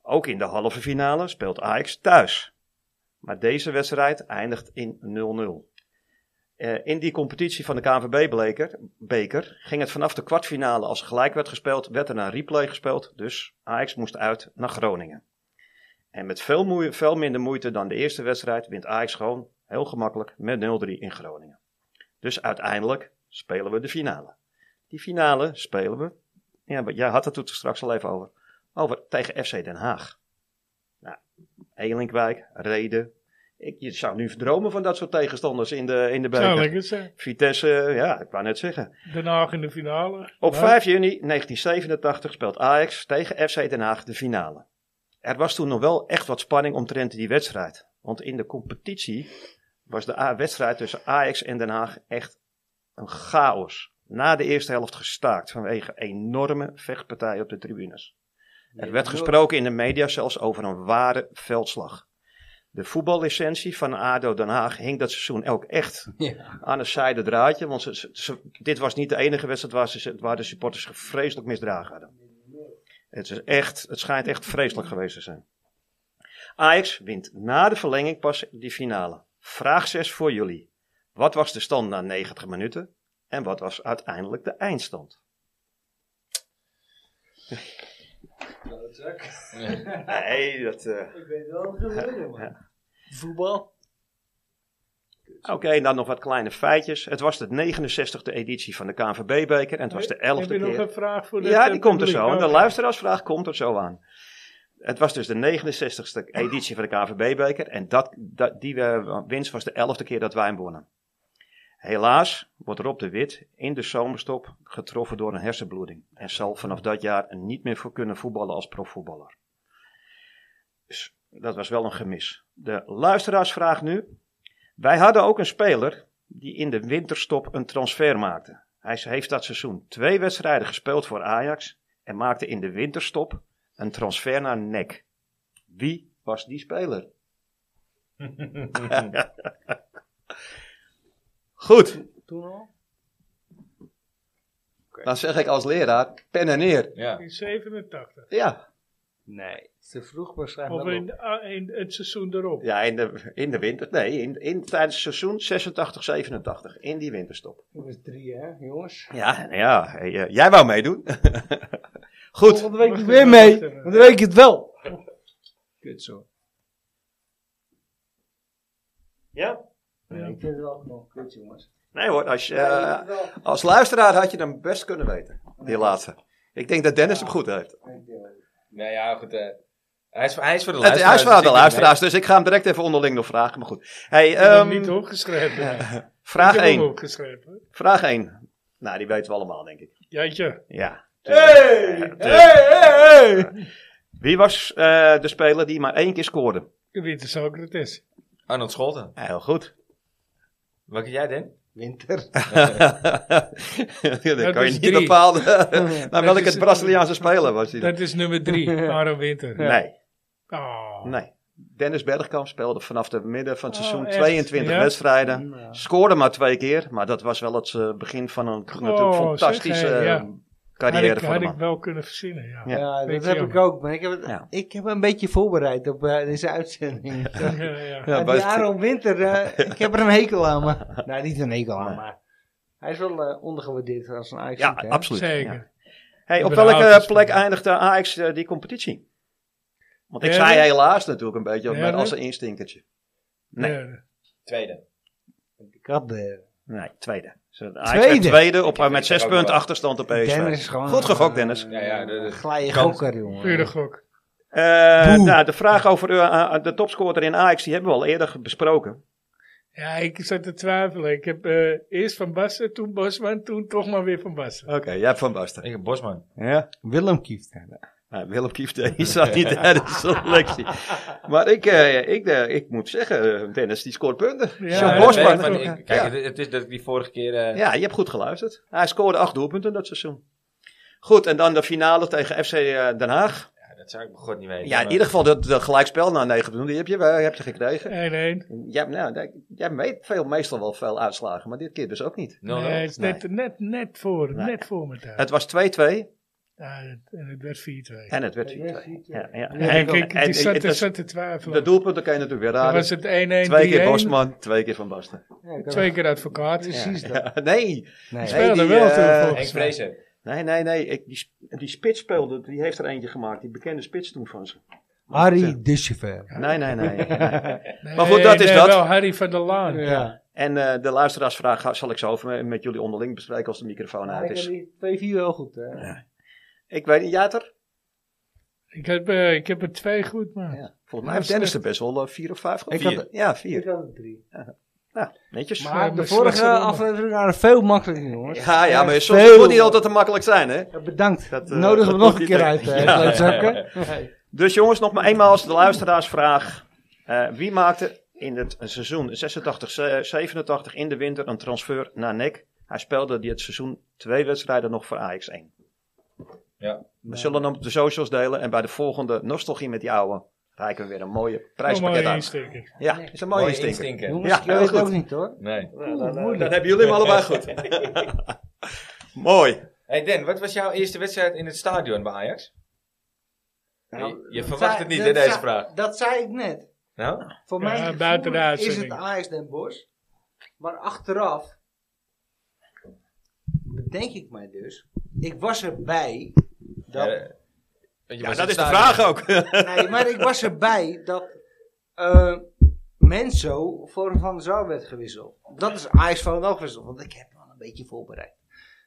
G: Ook in de halve finale speelt Ajax thuis. Maar deze wedstrijd eindigt in 0-0. Eh, in die competitie van de KNVB-beker beker, ging het vanaf de kwartfinale als gelijk werd gespeeld, werd er naar replay gespeeld. Dus Ajax moest uit naar Groningen. En met veel, moe- veel minder moeite dan de eerste wedstrijd wint Ajax gewoon heel gemakkelijk met 0-3 in Groningen. Dus uiteindelijk spelen we de finale. Die finale spelen we, ja, maar jij had het toen straks al even over, over tegen FC Den Haag. Nou, Elinkwijk, Reden. Ik, je zou nu dromen van dat soort tegenstanders in de, in de beker.
B: Zou lekker zijn.
G: Vitesse, ja, ik wou net zeggen.
B: Den Haag in de finale.
G: Op
B: Ja.
G: 5 juni 1987 speelt Ajax tegen FC Den Haag de finale. Er was toen nog wel echt wat spanning omtrent die wedstrijd. Want in de competitie was de A- wedstrijd tussen Ajax en Den Haag echt een chaos. Na de eerste helft gestaakt vanwege enorme vechtpartijen op de tribunes. Er werd gesproken in de media zelfs over een ware veldslag. De voetballicentie van ADO Den Haag hing dat seizoen ook echt
D: Ja.
G: aan een zijde draadje. Want ze, ze- ze- dit was niet de enige wedstrijd waar, ze, waar de supporters zich vreselijk misdragen hadden. Het, is echt, het schijnt echt vreselijk geweest te zijn. Ajax wint na de verlenging pas die finale. Vraag 6 voor jullie. Wat was de stand na 90 minuten? En wat was uiteindelijk de eindstand? Nee, dat... eh,
D: Ik weet wel wat er gebeurde, man.
C: Voetbal.
G: Oké, dan nog wat kleine feitjes. Het was de 69e editie van de KNVB-beker en het was de 11e
B: Heb je nog
G: keer...
B: een vraag voor de eh,
G: Ja, die komt er zo. En
B: En
G: de luisteraarsvraag komt er zo aan. Het was dus de 69ste editie van de KVB-beker. En dat, dat, die eh, winst was de 11e keer dat wij hem wonnen. Helaas wordt Rob de Wit in de zomerstop getroffen door een hersenbloeding. En zal vanaf dat jaar niet meer voor kunnen voetballen als profvoetballer. Dus dat was wel een gemis. De luisteraarsvraag nu. Wij hadden ook een speler die in de winterstop een transfer maakte. Hij heeft dat seizoen twee wedstrijden gespeeld voor Ajax en maakte in de winterstop een transfer naar NEC. Wie was die speler? Goed,
D: Toen al?
G: dan zeg ik als leraar pen en neer.
A: Ja.
B: In 87.
G: Ja,
D: Nee. Te vroeg waarschijnlijk.
B: Of
D: wel.
B: in, ah, in het seizoen erop.
G: ja in, de, in de winter. Nee, in, in, tijdens het seizoen 86-87. In die winterstop.
D: Ik was drie, hè, jongens.
G: Ja, nou ja hey, eh, jij wou meedoen. Goed.
D: Volgende week
B: Wacht
D: weer
B: even, eh,
D: mee.
B: wacht even.
D: Want dan weet ik het wel. Kut zo.
G: Ja?
D: Nee, Ik vind het wel nog kut, jongens.
G: Nee hoor, als, je,
D: Ja, ik
G: eh,
D: vind het wel.
G: als luisteraar had je hem best kunnen weten. Die laatste. Ik denk dat Dennis hem goed heeft.
A: Nou ja, goed. eh, hij, is, hij is voor de
G: Het,
A: luisteraars.
G: hij is van de
A: dus ik neem
G: luisteraars, dus ik ga hem direct even onderling nog vragen. Maar goed. Hey,
B: Ik heb hem
G: ehm,
B: niet opgeschreven. Ik
G: vraag
B: heb hem
G: 1.
B: opgeschreven.
G: Vraag 1. Nou, die weten we allemaal, denk ik.
B: Jantje.
G: Ja.
A: Hey!
G: Eh, Wie was eh, de speler die maar één keer scoorde?
B: De witte Socrates.
A: mee. Arnold Scholten.
G: Heel goed.
A: Wat kan jij, Den?
D: Winter.
G: dat kan je
B: is
G: niet
B: drie.
G: bepalen. nou,
B: Dat
G: welke
B: is-
G: Braziliaanse speler was die? dan?
B: Dat is nummer drie. Aaron Winter.
G: Nee.
B: Oh.
G: Nee. Dennis Bergkamp speelde vanaf de midden van het
B: Oh,
G: seizoen
B: echt?
G: 22
B: Ja?
G: wedstrijden. Scoorde maar twee keer. Maar dat was wel het eh, begin van een natuurlijk
B: Oh, zeg,
G: fantastische
B: hey, ja.
G: eh, carrière
B: had ik,
G: voor de
B: had ik
G: man.
B: wel kunnen verzinnen, ja.
G: Ja.
D: Ja,
B: Weet
D: dat
B: je
D: heb
B: ook.
D: ik ook. Maar ik heb, het,
G: Ja.
D: ik heb me een beetje voorbereid op eh, deze uitzending.
B: Ja, ja.
G: Ja,
D: en
G: maar
D: die
G: het-
D: Aaron Winter, eh, ik heb er een hekel aan. Maar, nou, niet een hekel aan, maar hij is wel eh, ondergewaardeerd als een ajax
G: Ja, absoluut.
B: Zeker.
G: ja. Hey, op
B: Hebben de
G: welke
B: auto's
G: eh, plek
B: gedaan.
G: eindigt de Ajax eh, die competitie? Want ik
B: Ja,
G: zei
B: dat-
G: helaas natuurlijk een beetje, maar
B: Ja, dat-
G: als een instinkertje. Nee.
B: Ja.
A: Tweede.
D: Ik had eh, de...
G: Nee, tweede. Zo, de
D: Tweede?
G: tweede. tweede op, eh, met
A: denk
G: zes
A: ook wel.
G: punten achterstand op PSV.
D: Dennis is gewoon... eh,
G: Goed gegokt, Dennis.
A: Ja, ja, de- de-
D: Glije
A: kans.
D: gokker, jongen.
B: Pure gok.
G: Eh, nou, de vraag over eh, eh, de topscorer in Ajax, die hebben we al eerder besproken.
B: Ja, ik zat te twijfelen. Ik heb eh, eerst Van Basten, toen Bosman, toen toch maar weer Van Basten.
G: Oké, jij hebt Van Basten.
A: Ik heb Bosman.
G: Ja.
D: Willem Kieft.
G: Nou, Willem Kieft, die zat niet uit de selectie. Maar ik, eh, ik, eh, ik moet zeggen, eh, Dennis, die scoort punten.
B: Ja,
G: Zo,
B: ja,
G: Bosman.
A: Nee, maar ik- kijk,
G: ja.
A: het, het is dat ik die vorige keer... eh,
G: Ja, je hebt goed geluisterd. Hij scoorde acht doelpunten dat seizoen. Goed, en dan de finale tegen FC Den Haag.
A: ja, dat zou ik mijn god niet weten.
G: Ja, in
A: maar-
G: ieder geval dat dat gelijkspel na negen punten, die heb je, eh, heb je gekregen.
B: 1-1.
G: Jij, nou, dat- jij weet veel, meestal wel veel uitslagen, maar dit keer dus ook niet.
A: Nul, nul.
B: Nee, het is net, net, net voor,
G: Nee.
B: net voor mijn tijd.
G: Het was 2-2
B: Ja, het- en het werd 4-2.
G: en het werd 4-2.
D: Ja, ziet, ja.
G: Ja, ja.
B: Ja, ik, ik,
G: en-
B: die zat,
G: het
B: ik
G: was-
B: zat te twijfelen.
G: de doelpunten kan je natuurlijk weer
B: Dan
G: raden.
B: was het 1-1, 3-1.
G: Twee keer Bosman, twee keer Van Basten.
B: Twee keer advocaat.
D: Precies dat.
G: Ja, nee,
D: Nee.
G: Hey,
B: Speelde
G: die,
B: wel
G: eh,
B: toen
A: Henk
B: volgens mij.
A: Vrezen.
G: nee, nee, nee. Ik, die, sp- die spits speelde, die heeft er eentje gemaakt. Die bekende spits toen van ze.
D: Harry Disjever.
G: Nee, nee, nee.
B: Nee,
G: Maar goed, dat is
B: nee,
G: dat.
B: wel Harry van der Laan.
D: Ja.
G: en eh, de luisteraarsvraag ga- zal ik zo over met jullie onderling bespreken als de microfoon
D: Nou,
G: uit
D: ik heb
G: is.
D: die 2-4 wel goed, hè.
G: Ik weet niet, Jater?
B: Ik, heb, eh, ik heb er twee goed, maar...
G: Ja. Volgens mij heeft Dennis er best wel eh, vier of vijf gehad.
D: Ik had-
G: Vier. Ja, vier.
D: Ik had er drie.
G: Ja, netjes.
B: Maar-
D: Maar de
B: mijn
D: vorige
B: slechtste ronde.
D: aflevering waren veel makkelijker, jongens.
G: ja, ja, maar soms
D: veel.
G: moet niet altijd te makkelijk zijn, hè?
D: Ja, bedankt.
G: Dat,
D: Dat,
G: eh,
D: Nodig
G: dat
D: hem nog
G: moet
D: een
G: niet,
D: keer
G: eh,
D: uit, eh
G: ja.
D: klootzakken.
G: Dus jongens, nog maar eenmaal als de luisteraarsvraag. Eh, wie maakte in het seizoen 86-87 in de winter een transfer naar NEC? Hij speelde dit seizoen twee wedstrijden nog voor Ajax 1.
A: Ja.
G: We zullen hem op de socials delen en bij de volgende nostalgie met die ouwe reiken we weer een mooie prijspakket
B: Oh, mooie
G: uit.
B: insteker.
G: Ja, is een mooie, instinker.
A: instinker.
D: Jongens,
G: Ja,
D: je weet
G: goed.
D: het ook niet, hoor.
A: Nee.
G: Dan hebben jullie hem allebei goed. Mooi.
A: Hey Den, wat was jouw eerste wedstrijd in het stadion bij Ajax? je je verwacht het niet, hè,
D: Nou, Dat
A: deze
D: zei-
A: vraag.
D: Dat zei ik net.
A: Nou?
D: Voor
B: Ja,
D: mij
B: buiten de
D: is
B: uitzending.
D: het Ajax Den Bosch. Maar achteraf bedenk ik mij dus. Ik was erbij dat.
A: eh, je was in
G: Ja,
A: het
G: dat is de
A: stadion.
G: vraag ook.
D: Nee, maar ik was erbij dat eh Menso voor Van der Sar werd gewisseld. Dat is Ajax van wel gewisseld, want ik heb wel een beetje voorbereid.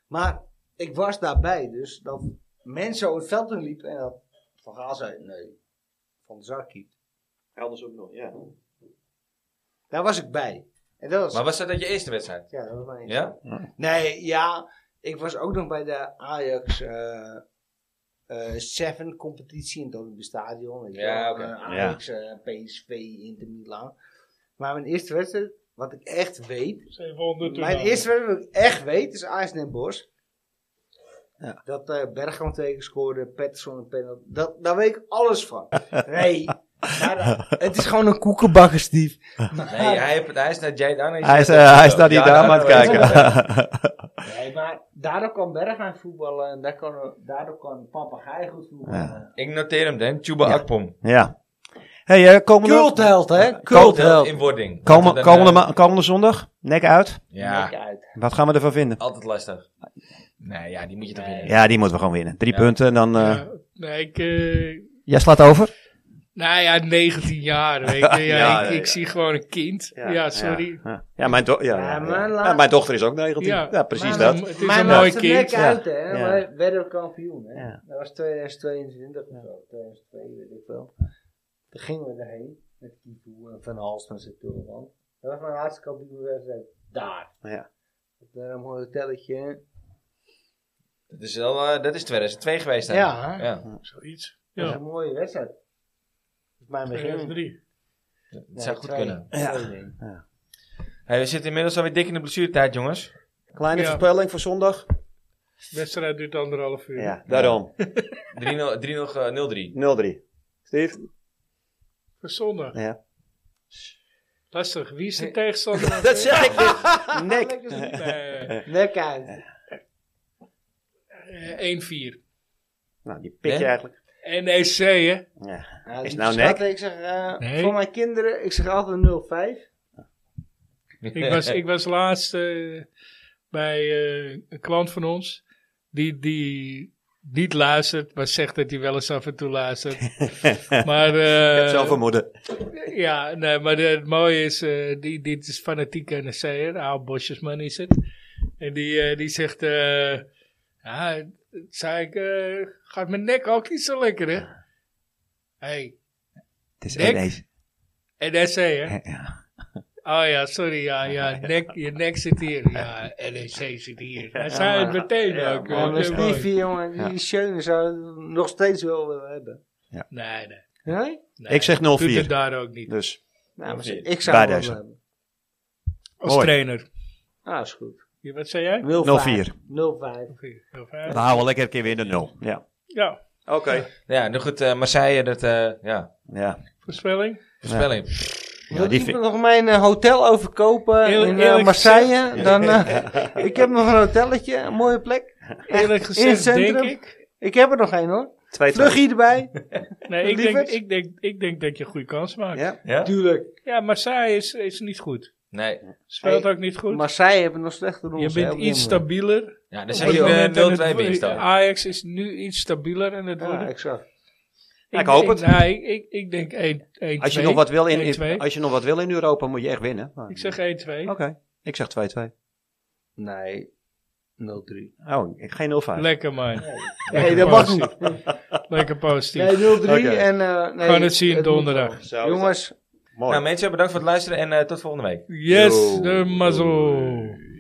D: Maar ik was daarbij dus dat Menso het veld in liep en dat Van Gaal zei: nee, Van der Sar keept.
G: Anders ook nog, ja.
D: Daar was ik bij. En dat was,
A: Maar was dat dat je eerste wedstrijd?
D: ja, dat was mijn eerste.
A: Ja?
D: Nee, ja, ik was ook nog bij de Ajax eh, eh, Seven competitie in het Olympisch Stadion. weet je
A: Ja,
D: wel.
A: oké.
D: Eh, Ajax, eh, PSV, Inter Milan. Maar mijn eerste wedstrijd, wat ik echt weet,
B: 700 toen
D: mijn
B: al.
D: eerste wedstrijd wat ik echt weet is Ajax Den Bosch.
G: Ja.
D: Dat eh Bergkamp tegen scoorde, Pettersson een penalty. Dat, daar weet ik alles van. Nee, maar, eh, het is gewoon een koekenbakker, Steve.
A: Nee, hij, heeft- hij is naar Jade aan.
E: Hij is, eh, hij is naar die dame aan het kijken.
D: Nee, maar daardoor kan Bergkamp voetballen en daar kan, daardoor kan Papagaai goed voetballen.
A: Ik noteer hem, Den. Chuba
E: Ja.
A: Akpom.
E: ja. hey, eh, komende,
D: Cultheld, hè? Cultheld.
A: In wording.
E: komen-
A: Dan, eh,
E: komende, ma- komende zondag, nek uit.
A: Ja,
E: Wat gaan we ervan vinden?
A: altijd lastig. Nee, ja, die moet je toch winnen.
E: Ja, die moeten we gewoon winnen. Drie
A: Ja.
E: punten en dan... eh,
B: Ja, nee, ik... eh,
E: Jij slaat over?
B: nou ja, 19 jaar, weet je. Ja,
G: Ja,
B: ik,
G: ja,
B: ik
G: ja.
B: zie gewoon een kind. Ja, sorry.
G: Ja, Ja, mijn, do- ja,
D: Ja,
G: ja,
D: maar
G: ja.
D: laat-
G: Ja, mijn dochter is ook 19. Ja,
B: Ja.
G: precies
D: Maar-
G: dat.
B: Het is een mooi kind.
D: nek uit, hè?
E: Ja.
D: We werden we kampioen, hè?
E: Ja.
D: Dat was 2022 of zo. 2002, weet ik wel. Toen gingen we erheen. Met Kipu en Van Hals en zijn Tulleman. Dat was mijn laatste kampioenwedstrijd. Daar.
G: Ja.
D: Op een mooi hotelletje.
A: Dat, is wel, eh, dat is 2002 geweest, hè?
D: Ja, hè?
A: ja.
B: Zoiets.
D: Dat was
B: Ja,
D: een mooie wedstrijd. Dat is mijn begin.
B: 2003.
A: Dat zou goed
D: twee.
A: kunnen.
D: Ja.
A: Hey, we zitten inmiddels alweer dik in de blessuretijd, jongens.
G: Kleine
B: Ja.
G: voorspelling voor zondag.
B: Wedstrijd duurt anderhalf uur.
G: Ja, daarom.
A: 3-0 3-0-0-3.
G: 0-3. Steve?
B: Voor zondag.
G: Ja.
B: Lastig. Wie is de tegenstander?
G: Dat zeg ik dus. Nek.
B: Eh,
D: Nek uit.
B: eh, 1-4.
G: Nou, die pik je
A: Nee?
G: eigenlijk.
B: NEC, E hè?
G: Ja.
D: Ja,
G: Is
D: die
G: nou
D: schatten, Ik zeg, eh,
B: Nee. Oh,
D: voor mijn kinderen, ik zeg altijd 05.
B: Ik was, ik was laatst eh, bij eh, een klant van ons. Die, die niet luistert, maar zegt dat hij wel eens af en toe luistert. maar, eh,
G: Zelfvermoeden.
B: ja, nee, maar de- het mooie is, eh, die, dit is fanatieke NSC'er, Aal Bosjesman is het. En die, eh, die zegt, eh, ja, zei ik, eh, gaat mijn nek ook niet zo lekker, hè? hey,
E: Het is
B: Dek.
E: NEC.
B: NSC, hè?
E: Ja.
B: Oh ja, sorry, ja, ja, nek, je nek zit hier. Ja, NEC zit hier. Hij zei het meteen ook.
D: Ja,
B: hoor.
D: maar
B: Heel mooi.
D: Stevie, jongen, die Schöne zou het nog steeds wel willen hebben.
B: Nee, nee.
D: Nee?
B: nee.
G: Ik zeg
B: Doet
G: 0-4.
B: het daar ook niet.
G: Dus
D: Nou, maar
A: Vier.
D: ik zou het wel
G: Baarduizen.
D: willen hebben.
B: Als
G: Mooi.
B: trainer.
D: Ah, is goed.
B: Ja, Wat zei jij?
E: 0-4.
D: 0-5.
B: Heel
E: Dan
B: fijn.
E: houden we lekker een keer weer de 0. Ja.
B: Ja,
G: oké.
A: Ja, nou goed, eh, Marseille, dat, eh, ja,
E: Ja.
B: voorspelling.
A: voorspelling.
D: Wil
E: die
D: iemand
E: vind-
D: nog mijn eh, hotel overkopen
B: Heel
D: in eh,
B: eerlijk
D: Marseille? Dan, eh, ik heb nog een hotelletje, een mooie plek.
B: Eerlijk
D: in het
B: gezegd denk
D: centrum?
B: ik.
D: Ik heb er nog één hoor.
G: Twee
D: Vlug hier erbij.
B: Nee, ik denk,
D: Lieverds?
B: ik, denk, ik denk dat je een goede kans maakt. Ja,
G: Ja.
A: Ja?
D: Tuurlijk.
B: Marseille is, is niet goed.
A: Nee.
B: Speelt
D: Hey,
B: ook niet goed.
D: Marseille hebben nog slechter dan
B: Je
D: ons.
B: bent iets stabieler.
A: Ja, dan
B: Op
A: zijn eh,
B: dit
A: je
B: moment en het
A: de 0-2
B: wo-
A: winst dan.
B: Ajax is nu iets stabieler en het wordt...
D: Ja, exact.
G: Ja, ik hoop
B: denk-
G: het.
B: nee, ik, ik, ik denk 1-2.
G: Als je, nog wat wil in, in-
B: 1-2.
G: als je nog wat wil in Europa, moet je echt winnen. Maar-
B: Ik
G: Oké,
B: zeg 1-2.
G: ik zeg 2-2.
D: Nee, 0-3.
G: Oh, ik- geen 0-5.
B: Lekker man.
D: Nee, dat mag niet.
B: Lekker positief.
D: Nee, 0-3
G: Oké.
D: en... eh nee,
B: Gaan het zien
D: moet
B: donderdag.
D: wel.
G: Zo is
D: Jongens,
G: Mooi.
A: Nou mensen, bedankt voor het luisteren en eh, tot volgende week.
B: Yes,
G: Yo.
B: de mazzel.